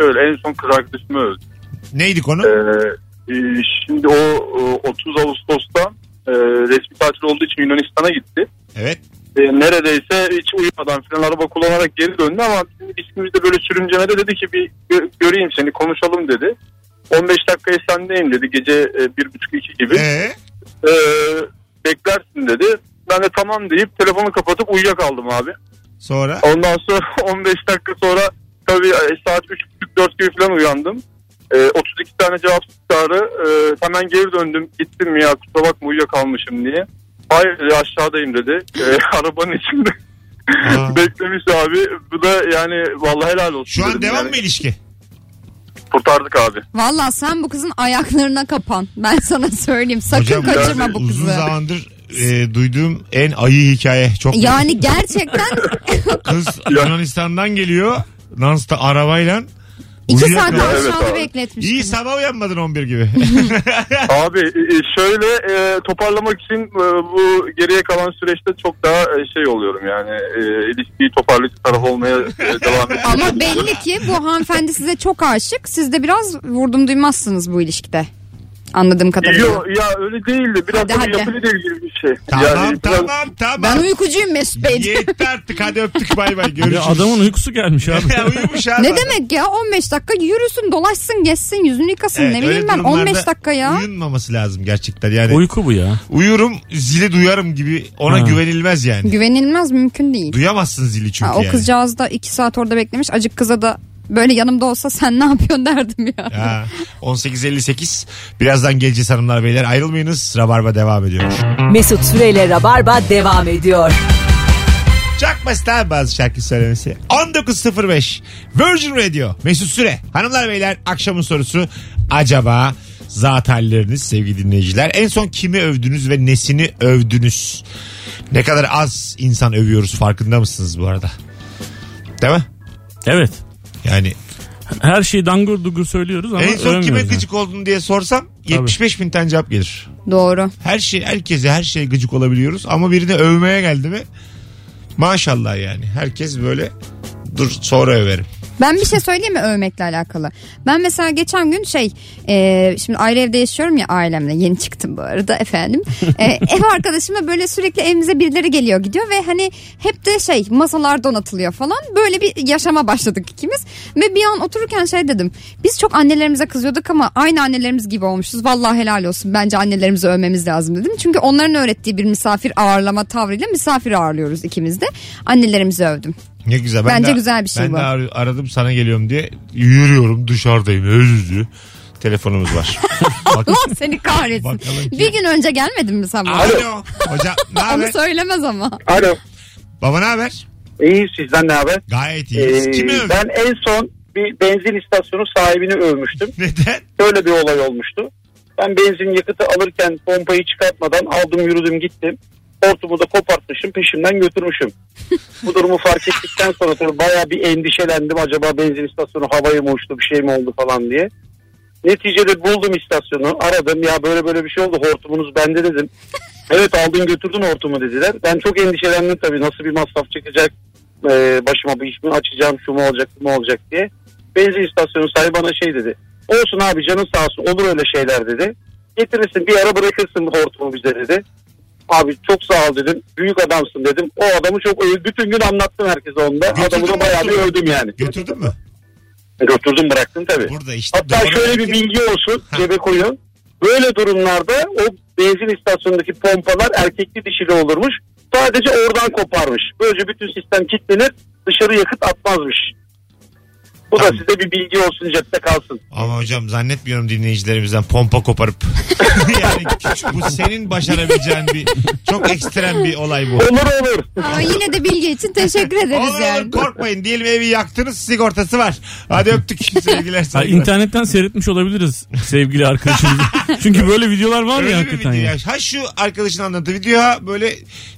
[SPEAKER 11] öyle en son kız arkadaşımı öldü.
[SPEAKER 2] Neydi konu?
[SPEAKER 11] Ee, e, şimdi o e, 30 Ağustos'ta e, resmi tatil olduğu için Yunanistan'a gitti.
[SPEAKER 2] Evet.
[SPEAKER 11] E, neredeyse hiç uyumadan falan araba kullanarak geri döndü ama bizim ikimizde böyle sürüncemede dedi ki bir gö- göreyim seni konuşalım dedi. 15 dakikaya sendeyim dedi gece e, bir buçuk iki gibi.
[SPEAKER 2] Ee,
[SPEAKER 11] E, beklersin dedi. Ben de tamam deyip telefonu kapatıp uyuyakaldım abi.
[SPEAKER 2] sonra?
[SPEAKER 11] Ondan sonra 15 dakika sonra tabii e, saat 3.30-4 gibi falan uyandım. E, 32 tane cevap tutarı. E, hemen geri döndüm. Gittim ya kusura bakma uyuyakalmışım diye. Hayır e, aşağıdayım dedi. E, arabanın içinde
[SPEAKER 2] Aa.
[SPEAKER 11] beklemiş abi. Bu da yani vallahi helal olsun.
[SPEAKER 2] Şu an
[SPEAKER 11] dedim
[SPEAKER 2] devam
[SPEAKER 11] yani.
[SPEAKER 2] mı ilişki?
[SPEAKER 11] Kurtardık abi.
[SPEAKER 4] Valla sen bu kızın ayaklarına kapan. Ben sana söyleyeyim. Sakın
[SPEAKER 2] Hocam,
[SPEAKER 4] kaçırma bu
[SPEAKER 2] Uzun
[SPEAKER 4] kızı.
[SPEAKER 2] zamandır e, duyduğum en ayı hikaye. Çok
[SPEAKER 4] Yani gerçekten
[SPEAKER 2] Kız Yunanistan'dan geliyor. Nans'ta arabayla.
[SPEAKER 4] iki
[SPEAKER 2] Uyuyakalıyor.
[SPEAKER 4] saat
[SPEAKER 11] Evet
[SPEAKER 4] aşağıda
[SPEAKER 11] abi.
[SPEAKER 4] bekletmiş.
[SPEAKER 2] İyi
[SPEAKER 4] kızı.
[SPEAKER 2] sabah uyanmadın 11 gibi.
[SPEAKER 11] abi e, şöyle e, toparlamak için e, bu geriye kalan süreçte çok daha e, şey oluyorum yani. E, ilişkiyi toparlayıcı taraf olmaya e, devam ediyorum.
[SPEAKER 4] Ama belli ki bu hanımefendi size çok aşık. Siz de biraz vurdum duymazsınız bu ilişkide. Anladığım
[SPEAKER 2] Ee,
[SPEAKER 4] kadarıyla.
[SPEAKER 11] Yok ya öyle değildi. Biraz
[SPEAKER 4] Hadi,
[SPEAKER 11] da
[SPEAKER 4] hadi.
[SPEAKER 11] bir yapıyla ilgili bir şey.
[SPEAKER 2] tamam
[SPEAKER 11] yani biraz-
[SPEAKER 2] tamam
[SPEAKER 4] Ben
[SPEAKER 2] tamam.
[SPEAKER 4] uykucuyum Mesut Bey.
[SPEAKER 2] Yetti artık hadi öptük bay bay görüşürüz.
[SPEAKER 3] Ya adamın uykusu gelmiş abi.
[SPEAKER 2] Ya uyumuş abi.
[SPEAKER 4] Ne demek ya 15 dakika yürüsün dolaşsın gezsin yüzünü yıkasın
[SPEAKER 2] Evet,
[SPEAKER 4] ne
[SPEAKER 2] öyle
[SPEAKER 4] bileyim ben
[SPEAKER 2] durumlarda
[SPEAKER 4] 15 dakika ya.
[SPEAKER 2] Uyunmaması lazım gerçekten yani.
[SPEAKER 3] Uyku bu ya.
[SPEAKER 2] Uyurum zili duyarım gibi ona
[SPEAKER 3] Ha.
[SPEAKER 2] güvenilmez yani.
[SPEAKER 4] Güvenilmez mümkün değil.
[SPEAKER 2] Duyamazsın zili çünkü
[SPEAKER 4] Ha, o
[SPEAKER 2] yani.
[SPEAKER 4] kızcağız da 2 saat orada beklemiş acık kıza da böyle yanımda olsa sen ne yapıyorsun derdim ya.
[SPEAKER 2] Ha, 18.58 birazdan geleceğiz hanımlar beyler ayrılmayınız Rabarba devam ediyor.
[SPEAKER 12] Mesut Süreyle Rabarba devam ediyor.
[SPEAKER 2] Çok basit abi bazı şarkı söylemesi. 19.05 Virgin Radio Mesut Süre. Hanımlar beyler akşamın sorusu acaba zat halleriniz sevgili dinleyiciler. En son kimi övdünüz ve nesini övdünüz? Ne kadar az insan övüyoruz farkında mısınız bu arada? Değil mi?
[SPEAKER 3] Evet.
[SPEAKER 2] Yani
[SPEAKER 3] Her şeyi dangur dugur söylüyoruz ama
[SPEAKER 2] en son kime
[SPEAKER 3] övmüyoruz yani.
[SPEAKER 2] gıcık oldun diye sorsam 75 bin tane cevap gelir.
[SPEAKER 4] Doğru.
[SPEAKER 2] Her şey herkese her şey gıcık olabiliyoruz ama birini övmeye geldi mi maşallah yani herkes böyle dur sonra överim.
[SPEAKER 4] Ben bir şey söyleyeyim mi övmekle alakalı? Ben mesela geçen gün şey e, şimdi ayrı evde yaşıyorum ya ailemle yeni çıktım bu arada efendim. E, ev arkadaşımla böyle sürekli evimize birileri geliyor gidiyor ve hani hep de şey masalar donatılıyor falan böyle bir yaşama başladık ikimiz. Ve bir an otururken şey dedim biz çok annelerimize kızıyorduk ama aynı annelerimiz gibi olmuşuz. Vallahi helal olsun bence annelerimizi övmemiz lazım dedim. Çünkü onların öğrettiği bir misafir ağırlama tavrıyla misafir ağırlıyoruz ikimiz de. Annelerimizi övdüm.
[SPEAKER 2] Ne güzel.
[SPEAKER 4] Bence güzel bir şey
[SPEAKER 2] ben
[SPEAKER 4] bu.
[SPEAKER 2] de ar- aradım sana geliyorum diye yürüyorum dışarıdayım özlü. Telefonumuz var. Bak,
[SPEAKER 4] Allah seni kahretsin.
[SPEAKER 2] bakalım ki.
[SPEAKER 4] Bir gün önce gelmedin mi sen bana?
[SPEAKER 2] Alo. Hocam ne
[SPEAKER 4] Onu
[SPEAKER 2] haber?
[SPEAKER 4] söylemez ama.
[SPEAKER 13] Alo.
[SPEAKER 2] Baba ne haber?
[SPEAKER 13] İyi sizden ne haber?
[SPEAKER 2] Gayet iyiyiz.
[SPEAKER 13] Ee,
[SPEAKER 2] Kimi övdün?
[SPEAKER 13] ben en son bir benzin istasyonu sahibini övmüştüm.
[SPEAKER 2] Neden?
[SPEAKER 13] Böyle bir olay olmuştu. Ben benzin yakıtı alırken pompayı çıkartmadan aldım yürüdüm gittim. Hortumu da kopartmışım peşimden götürmüşüm. Bu durumu fark ettikten sonra tabii baya bir endişelendim. Acaba benzin istasyonu havaya mı uçtu bir şey mi oldu falan diye. Neticede buldum istasyonu aradım ya böyle böyle bir şey oldu hortumunuz bende dedim. Evet aldın götürdün hortumu dediler. Ben çok endişelendim tabii nasıl bir masraf çıkacak. Ee, başıma bir iş mi açacağım şu mu olacak bu mu olacak diye. Benzin istasyonu sahibi bana şey dedi. Olsun abi canın sağ olsun olur öyle şeyler dedi. Getirirsin bir ara bırakırsın hortumu bize dedi. Abi çok sağ ol dedim. Büyük adamsın dedim. O adamı çok öv- bütün gün anlattım herkese onda.
[SPEAKER 2] Götürdün
[SPEAKER 13] Adamı
[SPEAKER 2] mü
[SPEAKER 13] da bayağı bir
[SPEAKER 2] hortumu?
[SPEAKER 13] övdüm yani.
[SPEAKER 2] Götürdün mü?
[SPEAKER 13] Götürdüm bıraktım tabii.
[SPEAKER 2] Burada işte.
[SPEAKER 13] Hatta
[SPEAKER 2] doğru.
[SPEAKER 13] şöyle bir bilgi olsun cebe koyun. Böyle durumlarda o benzin istasyonundaki pompalar erkekli dişili olurmuş. Sadece oradan koparmış. Böylece bütün sistem kilitlenir dışarı yakıt atmazmış. Bu da
[SPEAKER 2] Tamam.
[SPEAKER 13] size bir bilgi olsun cepte kalsın.
[SPEAKER 2] Ama hocam zannetmiyorum dinleyicilerimizden pompa koparıp. yani küçük- bu senin başarabileceğin bir çok ekstrem bir olay bu.
[SPEAKER 13] Olur olur.
[SPEAKER 4] Ama yine de bilgi için teşekkür ederiz
[SPEAKER 2] Olur
[SPEAKER 4] yani.
[SPEAKER 2] olur korkmayın. Diyelim evi yaktınız sigortası var. Hadi öptük sevgiler
[SPEAKER 3] Ha,
[SPEAKER 2] saygılar.
[SPEAKER 3] internetten seyretmiş olabiliriz sevgili arkadaşımız. Çünkü böyle videolar var
[SPEAKER 2] Öyle
[SPEAKER 3] ya
[SPEAKER 2] bir
[SPEAKER 3] hakikaten
[SPEAKER 2] video
[SPEAKER 3] ya.
[SPEAKER 2] ya. Ha şu arkadaşın anlattığı video ha böyle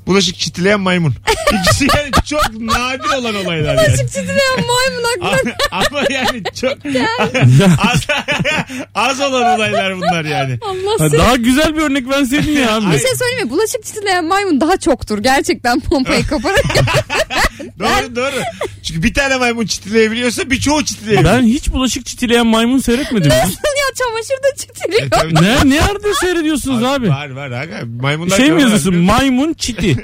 [SPEAKER 2] bulaşık çitileyen maymun. İkisi yani çok nadir olan olaylar yani.
[SPEAKER 4] Açık çizmeyen maymun
[SPEAKER 2] A-
[SPEAKER 4] aklına
[SPEAKER 2] Ama yani çok az, az olan olaylar bunlar yani.
[SPEAKER 4] Allah
[SPEAKER 3] Ha,
[SPEAKER 4] seni.
[SPEAKER 3] Daha güzel bir örnek verseydin ya abi.
[SPEAKER 4] Bir şey söyleyeyim mi? Bulaşık çitileyen maymun daha çoktur. Gerçekten pompayı kaparak.
[SPEAKER 2] Doğru doğru. Çünkü bir tane maymun çitileyebiliyorsa birçoğu çitileyebiliyor.
[SPEAKER 3] Ben hiç bulaşık çitileyen maymun seyretmedim. ya.
[SPEAKER 4] ya çamaşır da
[SPEAKER 2] E,
[SPEAKER 4] çitiliyor.
[SPEAKER 2] tabii.
[SPEAKER 3] ne nerede seyrediyorsunuz abi?
[SPEAKER 2] Var var aga. Maymunlar
[SPEAKER 3] Şey mi
[SPEAKER 2] canlı
[SPEAKER 3] yazıyorsun?
[SPEAKER 2] abi.
[SPEAKER 3] Maymun çiti.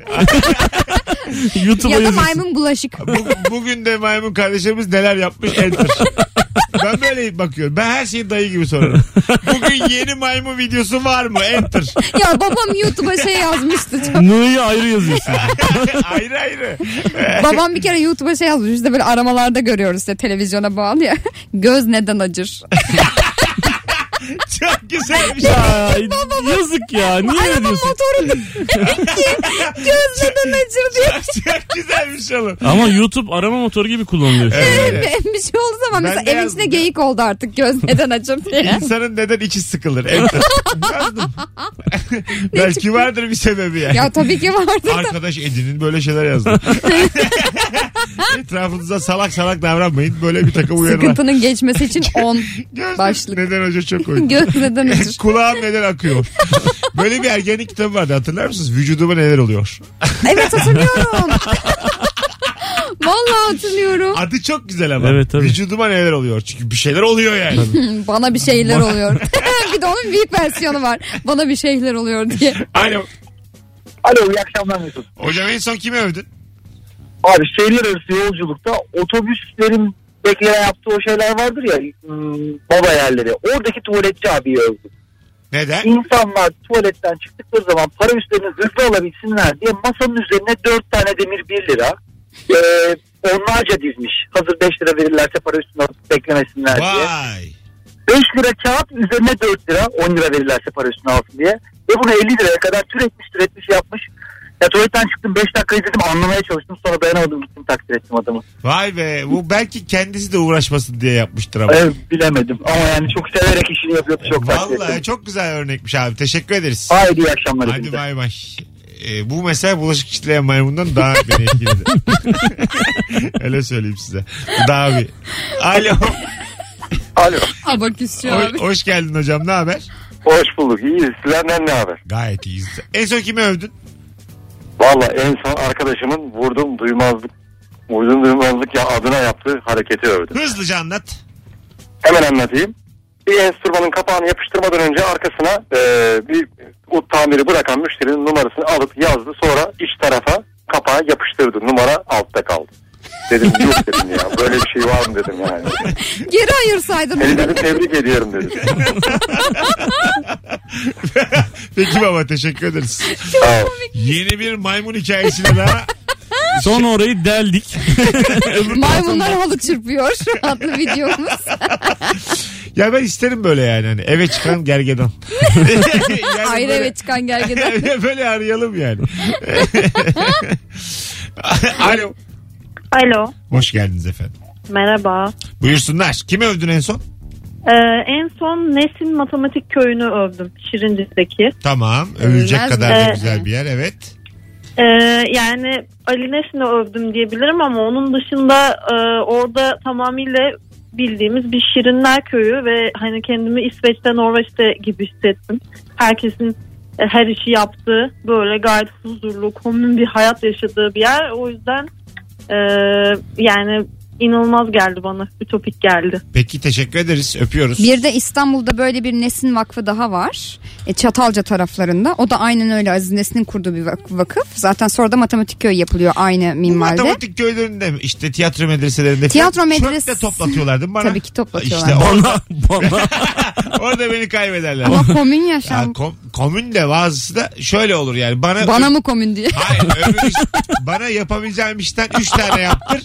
[SPEAKER 3] YouTube'a
[SPEAKER 4] ya da
[SPEAKER 3] yazıyorsun.
[SPEAKER 4] maymun bulaşık.
[SPEAKER 2] Bu- Bugün de maymun kardeşimiz neler yapmış enter. Ben böyle bakıyorum. Ben her şeyi dayı gibi sorarım. Bugün yeni maymun videosu var mı? Enter.
[SPEAKER 4] ya babam YouTube'a şey yazmıştı. Çok-
[SPEAKER 3] N'yi ayrı yazıyorsun.
[SPEAKER 2] ayrı ayrı. Ee,
[SPEAKER 4] babam bir kere YouTube'a şey yazmış. Biz de böyle aramalarda görüyoruz işte televizyona bağlı ya. Göz neden acır?
[SPEAKER 2] Çok güzelmiş.
[SPEAKER 3] Ya, yazık ya. Niye öyle
[SPEAKER 4] Araba
[SPEAKER 3] diyorsun?
[SPEAKER 4] motoru göz neden acır diye.
[SPEAKER 2] Çok güzelmiş oğlum.
[SPEAKER 3] Ama YouTube arama motoru gibi kullanılıyor.
[SPEAKER 2] Evet.
[SPEAKER 4] bir şey oldu zaman
[SPEAKER 2] Ben
[SPEAKER 4] mesela
[SPEAKER 2] de
[SPEAKER 4] evin
[SPEAKER 2] yazdım
[SPEAKER 4] içinde
[SPEAKER 2] ya.
[SPEAKER 4] geyik oldu artık göz neden acır diye.
[SPEAKER 2] İnsanın neden içi sıkılır? Enter. Yazdım. Belki vardır bir sebebi yani.
[SPEAKER 4] ya tabii ki vardı.
[SPEAKER 2] Arkadaş edinin böyle şeyler yazdı. Etrafınıza salak salak davranmayın. Böyle bir takım uyarılar.
[SPEAKER 4] Sıkıntının geçmesi için 10
[SPEAKER 2] Göz-
[SPEAKER 4] başlık.
[SPEAKER 2] Neden hoca çok oyun.
[SPEAKER 4] göz neden acır.
[SPEAKER 2] Kulağım neler akıyor. Böyle bir ergenlik kitabı vardı hatırlar mısınız? Vücuduma neler oluyor.
[SPEAKER 4] Evet hatırlıyorum. Vallahi hatırlıyorum.
[SPEAKER 2] Adı çok güzel ama.
[SPEAKER 3] Evet, tabii.
[SPEAKER 2] Vücuduma neler oluyor. Çünkü bir şeyler oluyor yani.
[SPEAKER 4] Bana bir şeyler oluyor. bir de onun büyük versiyonu var. Bana bir şeyler oluyor diye.
[SPEAKER 2] Alo.
[SPEAKER 5] Alo iyi akşamlar Mesut.
[SPEAKER 2] Hocam en son kimi övdün?
[SPEAKER 5] Abi şehirler arası yolculukta otobüslerin beklenen yaptığı o şeyler vardır ya hmm, baba yerleri. Oradaki tuvaletçi abiyi övdüm.
[SPEAKER 2] Neden?
[SPEAKER 5] İnsanlar tuvaletten çıktıkları zaman para üstlerini hızlı alabilsinler diye masanın üzerine 4 tane demir 1 lira. Ee, onlarca dizmiş. Hazır 5 lira verirlerse para üstüne alıp beklemesinler diye.
[SPEAKER 2] Vay.
[SPEAKER 5] 5 lira kağıt üzerine 4 lira 10 lira verirlerse para üstüne alsın diye. Ve bunu 50 liraya kadar türetmiş türetmiş yapmış. Ya tuvaletten çıktım 5 dakika izledim anlamaya çalıştım sonra dayanamadım gittim takdir ettim adamı.
[SPEAKER 2] Vay be. Bu belki kendisi de uğraşmasın diye yapmıştır ama.
[SPEAKER 5] Evet bilemedim ama yani çok severek işini yapıyordu çok takdir
[SPEAKER 2] Vallahi
[SPEAKER 5] ettim.
[SPEAKER 2] çok güzel örnekmiş abi. Teşekkür ederiz.
[SPEAKER 5] Haydi iyi akşamlar.
[SPEAKER 2] Hadi
[SPEAKER 5] hepinize.
[SPEAKER 2] bay bay. Ee, bu mesela bulaşık çitleyen maymundan daha beni etkiledi. Öyle söyleyeyim size. Daha bir. Alo.
[SPEAKER 6] Alo.
[SPEAKER 4] Abaküsçü
[SPEAKER 2] Hoş,
[SPEAKER 4] abi.
[SPEAKER 2] hoş geldin hocam. Ne haber?
[SPEAKER 6] Hoş bulduk. İyiyiz. Sizlerden ne haber?
[SPEAKER 2] Gayet iyiyiz. En son kimi övdün?
[SPEAKER 6] Valla en son arkadaşımın vurdum duymazlık vurdum duymazlık ya adına yaptığı hareketi övdüm.
[SPEAKER 2] Hızlıca anlat.
[SPEAKER 6] Hemen anlatayım. Bir enstrümanın kapağını yapıştırmadan önce arkasına e, bir o tamiri bırakan müşterinin numarasını alıp yazdı. Sonra iç tarafa kapağı yapıştırdı. Numara altta kaldı. Dedim yok dedim ya. Böyle bir şey var mı dedim yani.
[SPEAKER 4] Geri ayırsaydın.
[SPEAKER 6] Seni dedim tebrik ediyorum dedim.
[SPEAKER 2] Peki baba teşekkür ederiz.
[SPEAKER 6] Sağ ol.
[SPEAKER 2] Yeni bir maymun hikayesine daha
[SPEAKER 3] Sonra orayı deldik.
[SPEAKER 4] Maymunlar halı çırpıyor adlı videomuz.
[SPEAKER 2] Ya ben isterim böyle yani. Hani eve çıkan gergedan. yani
[SPEAKER 4] Ayrı
[SPEAKER 2] böyle-
[SPEAKER 4] eve çıkan gergedan.
[SPEAKER 2] böyle arayalım yani. Alo.
[SPEAKER 14] Alo.
[SPEAKER 2] Hoş geldiniz efendim.
[SPEAKER 14] Merhaba.
[SPEAKER 2] Buyursunlar. Kimi övdün en son?
[SPEAKER 14] Ee, en son Nesin Matematik Köyü'nü övdüm Şirincik'teki.
[SPEAKER 2] Tamam. Övülecek
[SPEAKER 14] Övülmez
[SPEAKER 2] kadar
[SPEAKER 14] mi?
[SPEAKER 2] da
[SPEAKER 14] Evet.
[SPEAKER 2] güzel bir yer. Evet.
[SPEAKER 14] Ee, yani Ali Nesin'i övdüm diyebilirim ama onun dışında e, orada tamamıyla bildiğimiz bir Şirinler Köyü ve hani kendimi İsveç'te Norveç'te gibi hissettim. Herkesin e, her işi yaptığı böyle gayet huzurlu komün bir hayat yaşadığı bir yer. O yüzden e, yani inanılmaz geldi bana. Ütopik geldi.
[SPEAKER 2] Peki teşekkür ederiz. Öpüyoruz.
[SPEAKER 4] Bir de İstanbul'da böyle bir Nesin Vakfı daha var. E, Çatalca taraflarında. O da aynen öyle Aziz Nesin'in kurduğu bir vak- vakıf. Zaten sonra da matematik köyü yapılıyor aynı minvalde.
[SPEAKER 2] Matematik köylerinde mi? işte tiyatro medreselerinde
[SPEAKER 4] Tiyatro
[SPEAKER 2] falan
[SPEAKER 4] medres-
[SPEAKER 2] çöp de toplatıyorlar değil mi bana?
[SPEAKER 4] Tabii ki toplatıyorlar.
[SPEAKER 2] İşte orada,
[SPEAKER 3] Bana
[SPEAKER 2] orada beni kaybederler.
[SPEAKER 4] Ama komün yaşam.
[SPEAKER 2] Ya kom- komün de bazısı da şöyle olur yani. Bana,
[SPEAKER 4] Bana mı komün diye.
[SPEAKER 2] Hayır, öbür iş- bana yapabileceğim işten 3 tane yaptır.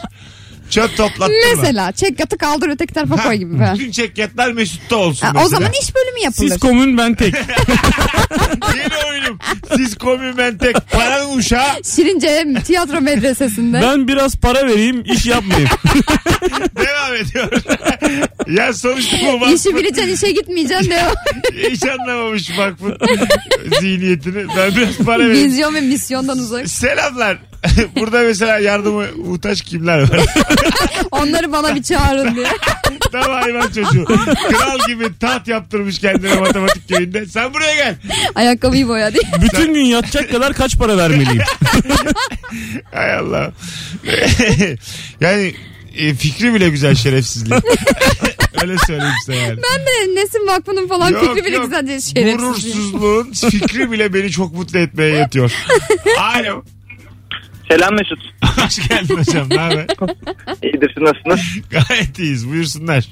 [SPEAKER 2] Çöp toplattırma.
[SPEAKER 4] Mesela çekyatı kaldır öteki tarafa
[SPEAKER 2] Ha,
[SPEAKER 4] koy gibi falan.
[SPEAKER 2] Bütün çekyatlar Mesut'ta olsun
[SPEAKER 4] Ha,
[SPEAKER 2] mesela.
[SPEAKER 4] o zaman iş bölümü yapılır.
[SPEAKER 3] siz komün ben tek.
[SPEAKER 2] Yeni oyunum. Siz komün ben tek. Paran uşağı.
[SPEAKER 4] Şirince tiyatro medresesinde.
[SPEAKER 3] Ben biraz para vereyim iş yapmayayım.
[SPEAKER 2] Devam ediyor. ya sonuçta bu bak.
[SPEAKER 4] İşi bileceksin işe gitmeyeceksin diyor.
[SPEAKER 2] Hiç anlamamış bak bu zihniyetini. Ben biraz para vereyim.
[SPEAKER 4] Vizyon ve misyondan uzak.
[SPEAKER 2] Selamlar. Burada mesela yardıma muhtaç kimler var?
[SPEAKER 4] Onları bana bir çağırın diye.
[SPEAKER 2] Tam hayvan çocuğu. Kral gibi taht yaptırmış kendine matematik köyünde. Sen buraya gel.
[SPEAKER 4] Ayakkabıyı boya diye.
[SPEAKER 3] Bütün gün yatacak kadar kaç para vermeliyim?
[SPEAKER 2] Hay Allah. yani e, fikri bile güzel şerefsizlik. Öyle söyleyeyim size yani.
[SPEAKER 4] Ben de Nesin Vakfı'nın falan fikri bile güzel diye şerefsiz.
[SPEAKER 2] Gurursuzluğun fikri bile beni çok mutlu etmeye yetiyor. Alo.
[SPEAKER 15] Selam Mesut.
[SPEAKER 2] Hoş geldin hocam. Ne haber?
[SPEAKER 15] İyidir nasılsınız?
[SPEAKER 2] Gayet iyiyiz. Buyursunlar.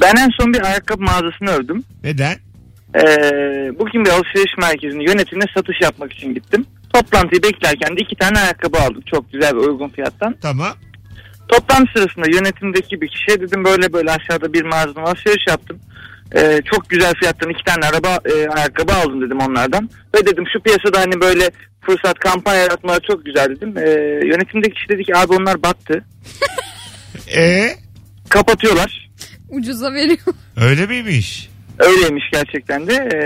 [SPEAKER 16] Ben en son bir ayakkabı mağazasını övdüm.
[SPEAKER 2] Neden?
[SPEAKER 16] Ee, bugün bir alışveriş merkezinin yönetimine satış yapmak için gittim. Toplantıyı beklerken de iki tane ayakkabı aldım. Çok güzel ve uygun fiyattan.
[SPEAKER 2] Tamam.
[SPEAKER 16] Toplantı sırasında yönetimdeki bir kişiye dedim böyle böyle aşağıda bir mağazadan alışveriş yaptım. Ee, çok güzel fiyattan iki tane araba e, ayakkabı aldım dedim onlardan. Ve dedim şu piyasada hani böyle fırsat kampanya yaratmaları çok güzel dedim. Ee, yönetimdeki kişi dedi ki abi onlar battı.
[SPEAKER 2] E
[SPEAKER 16] Kapatıyorlar.
[SPEAKER 4] Ucuza veriyor.
[SPEAKER 2] öyle miymiş?
[SPEAKER 16] Öyleymiş gerçekten de. Ee,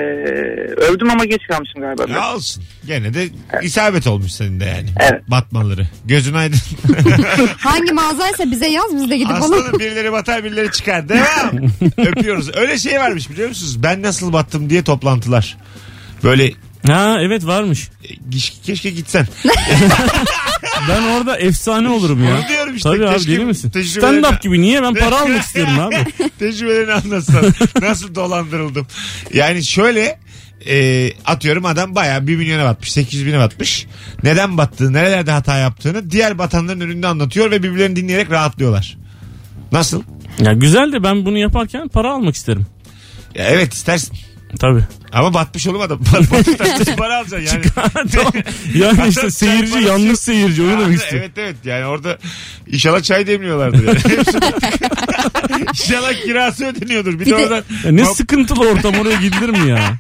[SPEAKER 16] övdüm ama geç kalmışım galiba. ben.
[SPEAKER 2] Ya olsun. Gene de isabet olmuş senin de yani.
[SPEAKER 16] Evet.
[SPEAKER 2] Batmaları. Gözün aydın.
[SPEAKER 4] Hangi mağazaysa bize yaz biz de gidip alalım.
[SPEAKER 2] Aslanım birileri batar birileri çıkar. Devam. Öpüyoruz. Öyle şey varmış biliyor musunuz? Ben nasıl battım diye toplantılar. Böyle e,
[SPEAKER 3] Ha evet varmış.
[SPEAKER 2] Giş- keşke gitsen.
[SPEAKER 3] Ben orada efsane olurum ya.
[SPEAKER 2] Onu diyorum işte.
[SPEAKER 3] Tabii abi
[SPEAKER 2] Keşke
[SPEAKER 3] deli misin?
[SPEAKER 2] tecrübelerini-
[SPEAKER 3] Stand up gibi niye ben para almak istiyorum abi.
[SPEAKER 2] Tecrübelerini anlatsan. Nasıl dolandırıldım. Yani şöyle e, atıyorum adam bayağı 1 milyona batmış. 800 bine batmış. Neden battığını, nerelerde hata yaptığını diğer batanların önünde anlatıyor ve birbirlerini dinleyerek rahatlıyorlar. Nasıl?
[SPEAKER 3] Ya güzel de ben bunu yaparken para almak isterim.
[SPEAKER 2] Ya evet istersin.
[SPEAKER 3] Tabii.
[SPEAKER 2] Ama batmış oğlum adam. Bat- Battıktan sonra para alacaksın yani.
[SPEAKER 3] Tamam. Yani işte seyirci
[SPEAKER 2] parası-
[SPEAKER 3] yanlış seyirci onu demek istiyorum.
[SPEAKER 2] evet evet yani orada inşallah çay demliyorlardır yani. Hepsi- inşallah kirası ödeniyordur. Bir, de,
[SPEAKER 4] de-
[SPEAKER 2] oradan
[SPEAKER 3] Ya ne sıkıntılı ortam oraya gidilir mi ya?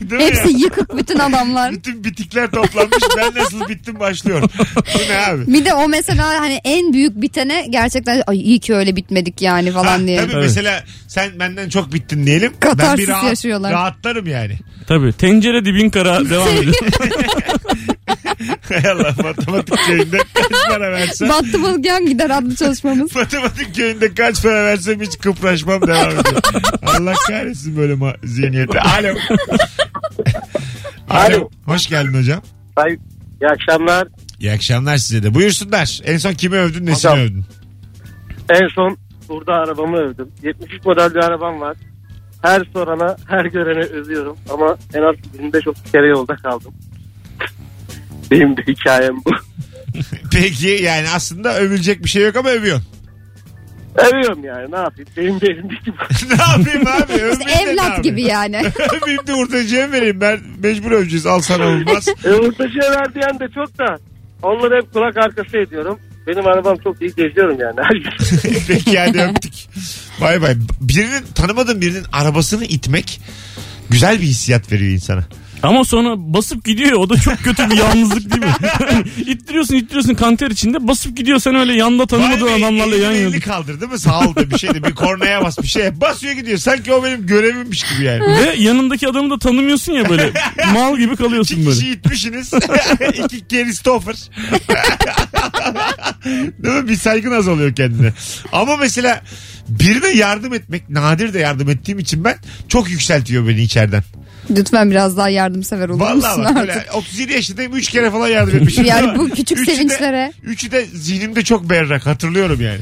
[SPEAKER 2] Değil mi?
[SPEAKER 4] Hepsi yıkık bütün adamlar.
[SPEAKER 2] Bütün bitikler toplanmış. ben nasıl bittim başlıyor. Bu ne abi?
[SPEAKER 4] Bir de o mesela hani en büyük bitene gerçekten ay iyi ki öyle bitmedik yani
[SPEAKER 2] Ha,
[SPEAKER 4] falan
[SPEAKER 2] tabii
[SPEAKER 4] diye.
[SPEAKER 2] mesela sen benden çok bittin diyelim. ben bir
[SPEAKER 4] Katarsis
[SPEAKER 2] rahat,
[SPEAKER 4] yaşıyorlar.
[SPEAKER 2] rahatlarım yani.
[SPEAKER 3] Tabii tencere dibin kara devam ediyor.
[SPEAKER 2] Hay Allah matematik köyünde kaç para versen.
[SPEAKER 4] Battı bılgen gider adlı çalışmamız.
[SPEAKER 2] matematik köyünde kaç para versem hiç kıpraşmam devam ediyor. Allah kahretsin böyle ma- zihniyeti. Alo. Alo.
[SPEAKER 17] Alo.
[SPEAKER 2] Hoş geldin hocam.
[SPEAKER 17] Ay, iyi akşamlar.
[SPEAKER 2] İyi akşamlar size de. Buyursunlar. En son kimi övdün, nesini
[SPEAKER 17] Hocam.
[SPEAKER 2] övdün?
[SPEAKER 17] En son burada arabamı övdüm. 73 model bir arabam var. Her sorana, her görene özüyorum. Ama en az 25-30 kere yolda kaldım. Benim de hikayem bu.
[SPEAKER 2] Peki yani aslında övülecek bir şey yok ama övüyorsun.
[SPEAKER 17] Övüyorum yani ne yapayım. Benim de elimdeki bu.
[SPEAKER 2] ne yapayım abi? Övmeyeyim de ne yapayım?
[SPEAKER 4] Evlat gibi yani.
[SPEAKER 2] Övmeyeyim de ortacıya mı vereyim ben. Mecbur öveceğiz. Al sana olmaz.
[SPEAKER 17] E, ortacıya verdiyen de çok da. Onları hep kulak arkası ediyorum. Benim arabam çok iyi geziyorum yani. Her gün.
[SPEAKER 2] Peki hadi öptük. Bay bay. Birinin tanımadığın birinin arabasını itmek güzel bir hissiyat veriyor insana.
[SPEAKER 3] Ama sonra basıp gidiyor. O da çok kötü bir yalnızlık değil mi? ittiriyorsun ittiriyorsun kanter içinde. Basıp gidiyor sen öyle yanda tanımadığın
[SPEAKER 2] Vay be,
[SPEAKER 3] adamlarla
[SPEAKER 2] elini
[SPEAKER 3] yan yana.
[SPEAKER 2] elini kaldır değil mi? Sağ ol da bir şey de bir kornaya bas bir şey. Basıyor gidiyor. Sanki o benim görevimmiş gibi yani.
[SPEAKER 3] Ve yanındaki adamı da tanımıyorsun ya böyle. Mal gibi kalıyorsun
[SPEAKER 2] İki
[SPEAKER 3] böyle.
[SPEAKER 2] kişi itmişsiniz. İki Christopher. Değil mi? Bir saygın az oluyor kendine. Ama mesela birine yardım etmek nadir de yardım ettiğim için ben çok yükseltiyor beni içeriden.
[SPEAKER 4] Lütfen biraz daha yardımsever olur musun
[SPEAKER 2] Vallahi bak
[SPEAKER 4] artık?
[SPEAKER 2] böyle 37 yaşındayım 3 kere falan yardım etmişim.
[SPEAKER 4] Yani bu küçük
[SPEAKER 2] Üçü de-
[SPEAKER 4] sevinçlere.
[SPEAKER 2] Üçü de zihnimde çok berrak hatırlıyorum yani.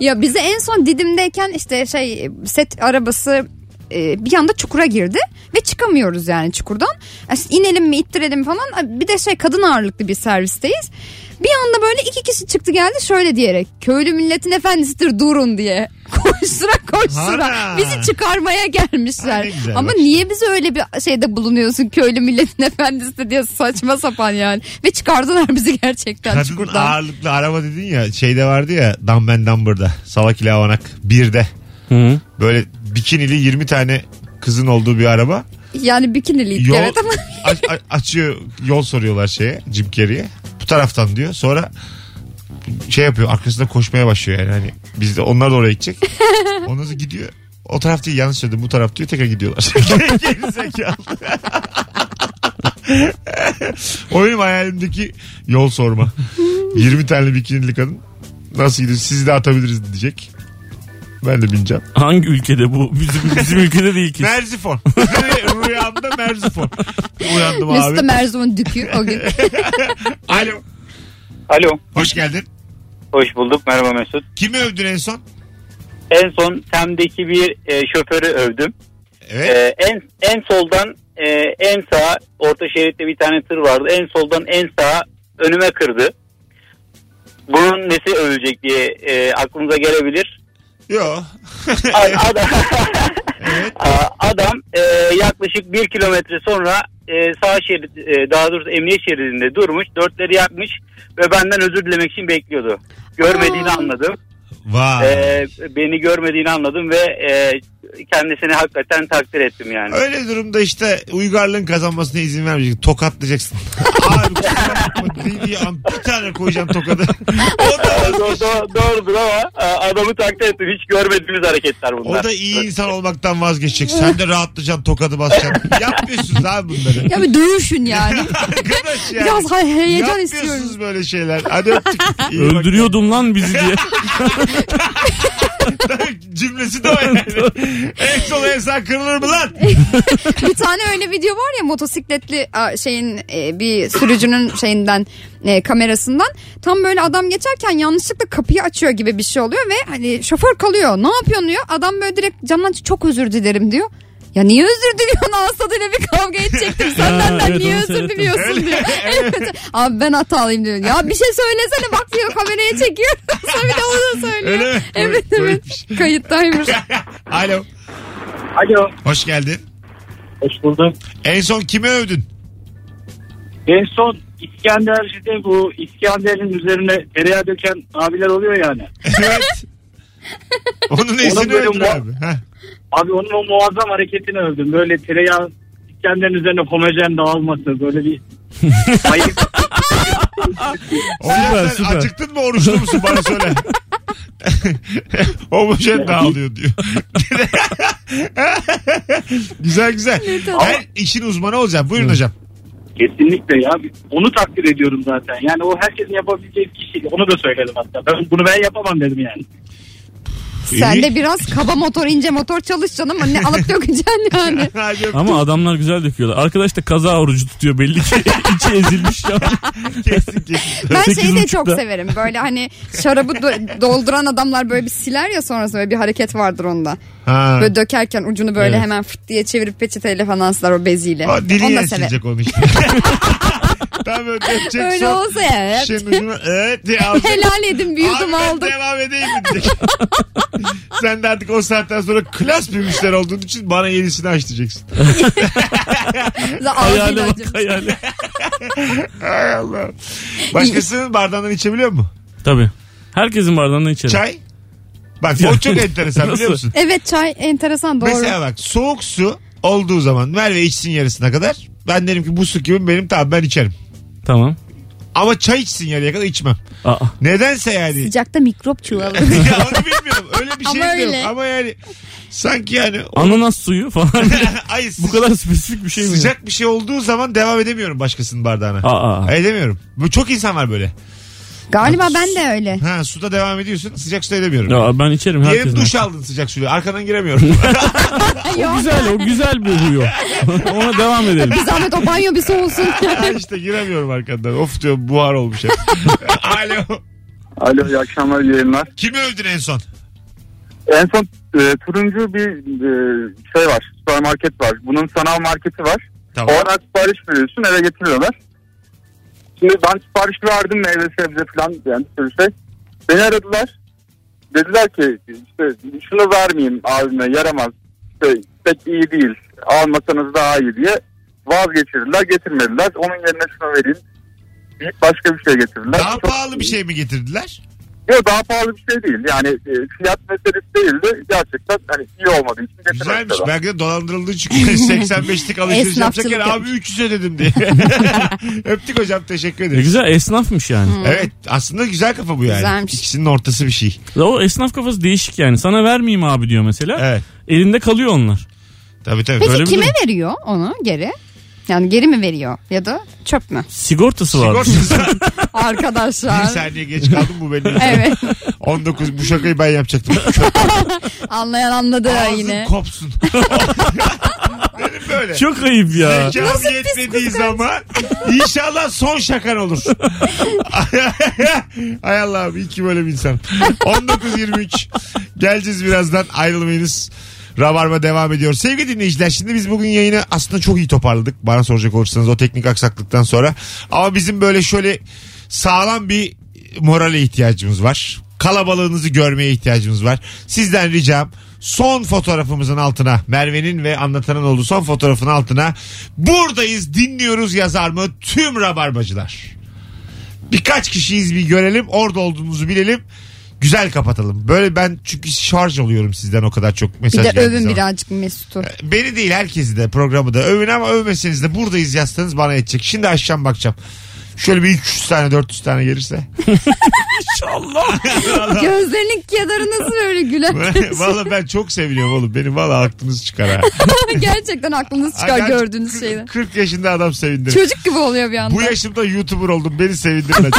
[SPEAKER 4] Ya bize en son Didim'deyken işte şey set arabası e, bir anda çukura girdi ve çıkamıyoruz yani çukurdan. Yani işte inelim mi ittirelim falan bir de şey kadın ağırlıklı bir servisteyiz. Bir anda böyle iki kişi çıktı geldi şöyle diyerek köylü milletin efendisidir durun diye. Koştura koştura
[SPEAKER 2] Ana.
[SPEAKER 4] bizi çıkarmaya
[SPEAKER 2] Ha,
[SPEAKER 4] gelmişler.
[SPEAKER 2] ne güzel
[SPEAKER 4] Ama
[SPEAKER 2] bak.
[SPEAKER 4] niye bize öyle bir şeyde bulunuyorsun köylü milletin efendisidir diye saçma sapan yani. Ve çıkardılar bizi gerçekten
[SPEAKER 2] Kadın
[SPEAKER 4] çukurdan.
[SPEAKER 2] ağırlıklı araba dedin ya şeyde vardı ya Dumb and Dumber'da. Salak ile Avanak 1'de. Böyle bikinili 20 tane kızın olduğu bir araba.
[SPEAKER 4] Yani bikiniliydik
[SPEAKER 2] Yol-
[SPEAKER 4] evet ama.
[SPEAKER 2] Aç- a- açıyor yol soruyorlar şeye Jim Carrey'e. Bu taraftan diyor. Sonra şey yapıyor arkasında koşmaya başlıyor yani. Hani biz de onlar da oraya gidecek. Ondan sonra gidiyor. O taraf değil yanlış söyledim bu taraf diyor tekrar gidiyorlar. Geri zekalı. o benim hayalimdeki yol sorma. 20 tane bikinili kadın nasıl gidiyor sizi de atabiliriz diyecek. Ben de bineceğim.
[SPEAKER 3] Hangi ülkede bu? Bizim, bizim ülkede değil ki.
[SPEAKER 2] Merzifon. Rüyamda Merzifon. Uyandım abi.
[SPEAKER 4] Mesut'un Erzurum'un dükü o gün.
[SPEAKER 2] Alo.
[SPEAKER 18] Alo.
[SPEAKER 2] Hoş geldin.
[SPEAKER 18] Hoş bulduk. Merhaba Mesut.
[SPEAKER 2] Kimi övdün en son?
[SPEAKER 18] En son Tem'deki bir e, şoförü övdüm.
[SPEAKER 2] Evet.
[SPEAKER 18] E, en en soldan e, en sağa orta şeritte bir tane tır vardı. En soldan en sağa önüme kırdı. Bunun nesi övülecek diye e, aklınıza gelebilir.
[SPEAKER 2] Yok.
[SPEAKER 18] A- adam A- adam e, yaklaşık bir kilometre sonra e, sağ şerit e, daha doğrusu emniyet şeridinde durmuş dörtleri yakmış ve benden özür dilemek için bekliyordu. Görmediğini anladım.
[SPEAKER 2] Vay.
[SPEAKER 9] Ee,
[SPEAKER 18] E, beni görmediğini anladım ve e, kendisini hakikaten takdir ettim yani.
[SPEAKER 2] Öyle durumda işte uygarlığın kazanmasına izin vermeyeceksin. Tokatlayacaksın. Abi kusura bakma dediği an bir tane koyacaksın tokadı. o, da,
[SPEAKER 18] Doğru, doğru, doğrudur ama e, adamı takdir ettim. Hiç görmediğimiz hareketler bunlar.
[SPEAKER 2] o da iyi insan olmaktan vazgeçecek. Sen de rahatlayacaksın tokadı basacaksın. Yapmıyorsunuz abi bunları.
[SPEAKER 4] Ya bir dövüşün yani.
[SPEAKER 2] Arkadaş yani.
[SPEAKER 4] Biraz hay- heyecan
[SPEAKER 2] Yapmıyorsunuz
[SPEAKER 4] istiyorum.
[SPEAKER 2] böyle şeyler. Hadi öptük. İyi bak.
[SPEAKER 3] Öldürüyordum lan bizi diye.
[SPEAKER 2] Cümlesi de o yani. en sol en sağ kırılır mı lan?
[SPEAKER 4] bir tane öyle video var ya motosikletli a, şeyin e, bir sürücünün şeyinden e, kamerasından tam böyle adam geçerken yanlışlıkla kapıyı açıyor gibi bir şey oluyor ve hani şoför kalıyor. Ne yapıyorsun diyor. Adam böyle direkt camdan çok özür dilerim diyor. Ya niye özür diliyorsun Asad'ıyla bir kavga edecektim senden ben
[SPEAKER 3] evet,
[SPEAKER 4] niye
[SPEAKER 3] onu
[SPEAKER 4] özür
[SPEAKER 3] seyrettim.
[SPEAKER 4] diliyorsun diyor. Evet. Abi ben hatalıyım diyor. Ya bir şey söylesene bak diyor kameraya çekiyor. Sonra bir de onu da söylüyor.
[SPEAKER 2] Öyle mi?
[SPEAKER 4] Evet
[SPEAKER 2] Böyle-
[SPEAKER 4] evet. Kayıttaymış.
[SPEAKER 2] Alo.
[SPEAKER 17] Alo.
[SPEAKER 2] Hoş geldin.
[SPEAKER 17] Hoş bulduk.
[SPEAKER 2] En son kimi övdün?
[SPEAKER 17] En son İskenderci'de bu İskender'in üzerine tereyağı döken abiler oluyor yani.
[SPEAKER 2] Evet. Onun
[SPEAKER 17] Onun
[SPEAKER 2] nesini
[SPEAKER 17] böyle
[SPEAKER 2] öldür
[SPEAKER 17] mu-
[SPEAKER 2] abi. Heh.
[SPEAKER 17] Abi onun o muazzam hareketini övdüm. Böyle tereyağı İskender'in üzerine homojen dağılması böyle bir hayır.
[SPEAKER 2] Hocam
[SPEAKER 3] Süper,
[SPEAKER 2] sen
[SPEAKER 3] süper.
[SPEAKER 2] acıktın mı oruçlu musun bana söyle. Homojen dağılıyor diyor. güzel güzel. Her işin uzmanı olacağım. Buyurun hocam.
[SPEAKER 17] Kesinlikle ya. Onu takdir ediyorum zaten. Yani o herkesin yapabileceği bir kişi. Onu da söyledim hatta. Ben, bunu ben yapamam dedim yani.
[SPEAKER 4] Sen de biraz kaba motor ince motor çalış canım. Hani Ne alıp dökeceksin yani.
[SPEAKER 2] Hadi öptüm.
[SPEAKER 3] Ama adamlar güzel döküyorlar. Arkadaş da kaza orucu tutuyor belli ki. içi ezilmiş ya.
[SPEAKER 2] kesin kesin.
[SPEAKER 4] Ben şeyi de
[SPEAKER 3] 8.30'da.
[SPEAKER 4] çok severim. Böyle hani şarabı do- dolduran adamlar böyle bir siler ya sonrasında böyle bir hareket vardır onda.
[SPEAKER 2] Ha.
[SPEAKER 4] Böyle dökerken ucunu böyle
[SPEAKER 3] Evet.
[SPEAKER 4] hemen fıt diye çevirip peçeteyle falan siler o beziyle.
[SPEAKER 2] O dili
[SPEAKER 4] Onu da severim.
[SPEAKER 2] yesilecek onu işte. Tam öyle dökecek
[SPEAKER 4] Öyle
[SPEAKER 2] son
[SPEAKER 4] olsa ya, evet.
[SPEAKER 2] şişenin ucuna, evet diye alacak.
[SPEAKER 4] Helal edin bir yudum
[SPEAKER 2] Abi ben
[SPEAKER 4] aldım.
[SPEAKER 2] devam edeyim mi diyecek. Sen de artık o saatten sonra klas bir müşteri olduğun için bana yenisini aç diyeceksin.
[SPEAKER 3] Hayale bak hayale.
[SPEAKER 2] Hay Allah. Başkasının bardağından içebiliyor mu?
[SPEAKER 3] Tabii. Herkesin bardağından içerim.
[SPEAKER 2] Çay? Bak o çok enteresan biliyor musun?
[SPEAKER 4] Evet çay enteresan doğru.
[SPEAKER 2] Mesela bak soğuk su olduğu zaman Merve içsin yarısına kadar. Ben derim ki bu su gibi benim tamam ben içerim.
[SPEAKER 3] Tamam.
[SPEAKER 2] Ama çay içsin yarıya kadar içmem.
[SPEAKER 3] Aa.
[SPEAKER 2] Nedense yani.
[SPEAKER 4] Sıcakta mikrop çuvalı.
[SPEAKER 2] ya onu bilmiyorum. Öyle bir şey
[SPEAKER 4] Ama
[SPEAKER 2] yok.
[SPEAKER 4] öyle.
[SPEAKER 2] Ama yani sanki yani
[SPEAKER 3] Ananas suyu falan.
[SPEAKER 2] Ay,
[SPEAKER 3] Bu kadar spesifik bir şey mi? ya?
[SPEAKER 2] sıcak bir şey olduğu zaman devam edemiyorum başkasının bardağına. E,
[SPEAKER 3] Aa.
[SPEAKER 2] Edemiyorum. Bu çok insan var böyle.
[SPEAKER 4] Galiba ben de öyle.
[SPEAKER 2] Ha suda devam ediyorsun sıcak suda edemiyorum.
[SPEAKER 3] Ya ben içerim
[SPEAKER 2] Diyelim
[SPEAKER 3] herkesin.
[SPEAKER 2] duş aldın sıcak suyla arkadan giremiyorum.
[SPEAKER 3] O güzel o güzel bir huyo. Ona devam edelim.
[SPEAKER 4] Bir zahmet o banyo bir soğusun.
[SPEAKER 2] işte giremiyorum arkadan. Of diyor buhar olmuş hep. Alo.
[SPEAKER 19] Alo iyi akşamlar iyi yayınlar.
[SPEAKER 2] Kimi övdün en son?
[SPEAKER 19] En son e, turuncu bir e,
[SPEAKER 18] Ee,
[SPEAKER 19] şey var süpermarket var. Bunun sanal marketi var.
[SPEAKER 2] Tamam.
[SPEAKER 19] Oradan sipariş veriyorsun eve getiriyorlar. Şimdi ben sipariş verdim meyve sebze falan yani bir sürü şey. Beni aradılar. Dediler ki işte şunu vermeyeyim abime yaramaz. İşte, pek iyi değil. Almasanız daha iyi diye vazgeçirdiler getirmediler. Onun yerine şunu vereyim. deyip Başka bir şey getirdiler.
[SPEAKER 2] Daha
[SPEAKER 19] Çok-
[SPEAKER 2] pahalı bir şey mi getirdiler?
[SPEAKER 19] Yok daha pahalı bir şey değil. Yani e, fiyat meselesi değildi. Gerçekten hani iyi olmadığı için
[SPEAKER 2] Güzelmiş.
[SPEAKER 19] getirmediler.
[SPEAKER 2] Belki de dolandırıldığı çünkü 85'lik alışveriş
[SPEAKER 4] Esnafçılık
[SPEAKER 2] yapacakken abi
[SPEAKER 4] yapmış.
[SPEAKER 2] 300 ödedim diye. Öptük hocam teşekkür
[SPEAKER 3] E,
[SPEAKER 2] ederim.
[SPEAKER 3] güzel esnafmış yani.
[SPEAKER 2] Evet aslında güzel kafa bu yani.
[SPEAKER 4] Güzelmiş.
[SPEAKER 2] İkisinin ortası bir şey.
[SPEAKER 3] O esnaf kafası değişik yani. Sana vermeyeyim abi diyor mesela.
[SPEAKER 2] Evet.
[SPEAKER 3] Elinde kalıyor onlar.
[SPEAKER 2] Tabii tabii.
[SPEAKER 4] Peki
[SPEAKER 3] Öyle mi
[SPEAKER 4] kime
[SPEAKER 3] diyor?
[SPEAKER 4] veriyor onu geri? Yani geri mi veriyor ya da çöp mü?
[SPEAKER 3] Sigortası var.
[SPEAKER 2] Sigortası bir şey-
[SPEAKER 4] Arkadaşlar.
[SPEAKER 2] saniye geç kaldım bu benim.
[SPEAKER 4] evet
[SPEAKER 2] 19 bu şakayı ben yapacaktım.
[SPEAKER 4] anlayan anladı
[SPEAKER 2] Ağzın
[SPEAKER 4] yine.
[SPEAKER 2] kopsun. Benim böyle.
[SPEAKER 3] Çok ayıp ya.
[SPEAKER 2] Zekam yetmediği zaman inşallah son şakan olur. Hay Allah'ım iyi ki böyle bir insan. 19.23 geleceğiz birazdan ayrılmayınız. Rabarba devam ediyor. Sevgili dinleyiciler şimdi biz bugün yayını aslında çok iyi toparladık. Bana soracak olursanız o teknik aksaklıktan sonra. Ama bizim böyle şöyle sağlam bir morale ihtiyacımız var. Kalabalığınızı görmeye ihtiyacımız var. Sizden ricam son fotoğrafımızın altına Merve'nin ve anlatanın olduğu son fotoğrafın altına buradayız dinliyoruz yazar mı tüm rabarbacılar birkaç kişiyiz bir görelim orada olduğumuzu bilelim güzel kapatalım. Böyle ben çünkü şarj oluyorum sizden o kadar çok
[SPEAKER 4] Bir
[SPEAKER 2] mesaj
[SPEAKER 4] de
[SPEAKER 2] geldiği
[SPEAKER 4] övün
[SPEAKER 2] zaman.
[SPEAKER 4] birazcık Mesut'u.
[SPEAKER 2] Beni değil herkesi de programı da övün ama övmeseniz de buradayız yazsanız bana yetecek. Şimdi aşağı bakacağım. Şöyle bir 300 tane 400 tane gelirse.
[SPEAKER 4] Gözlerinin kenarı nasıl böyle güler?
[SPEAKER 2] valla ben çok seviniyorum oğlum. Benim valla aklınız çıkar ha.
[SPEAKER 4] Gerçekten aklınız çıkar
[SPEAKER 2] Ay, ben
[SPEAKER 4] gördüğünüz
[SPEAKER 2] kırk-
[SPEAKER 4] şeyden.
[SPEAKER 2] 40 yaşında adam sevindirir.
[SPEAKER 4] Çocuk gibi oluyor bir anda.
[SPEAKER 2] Bu yaşımda YouTuber oldum. Beni sevindirmedi.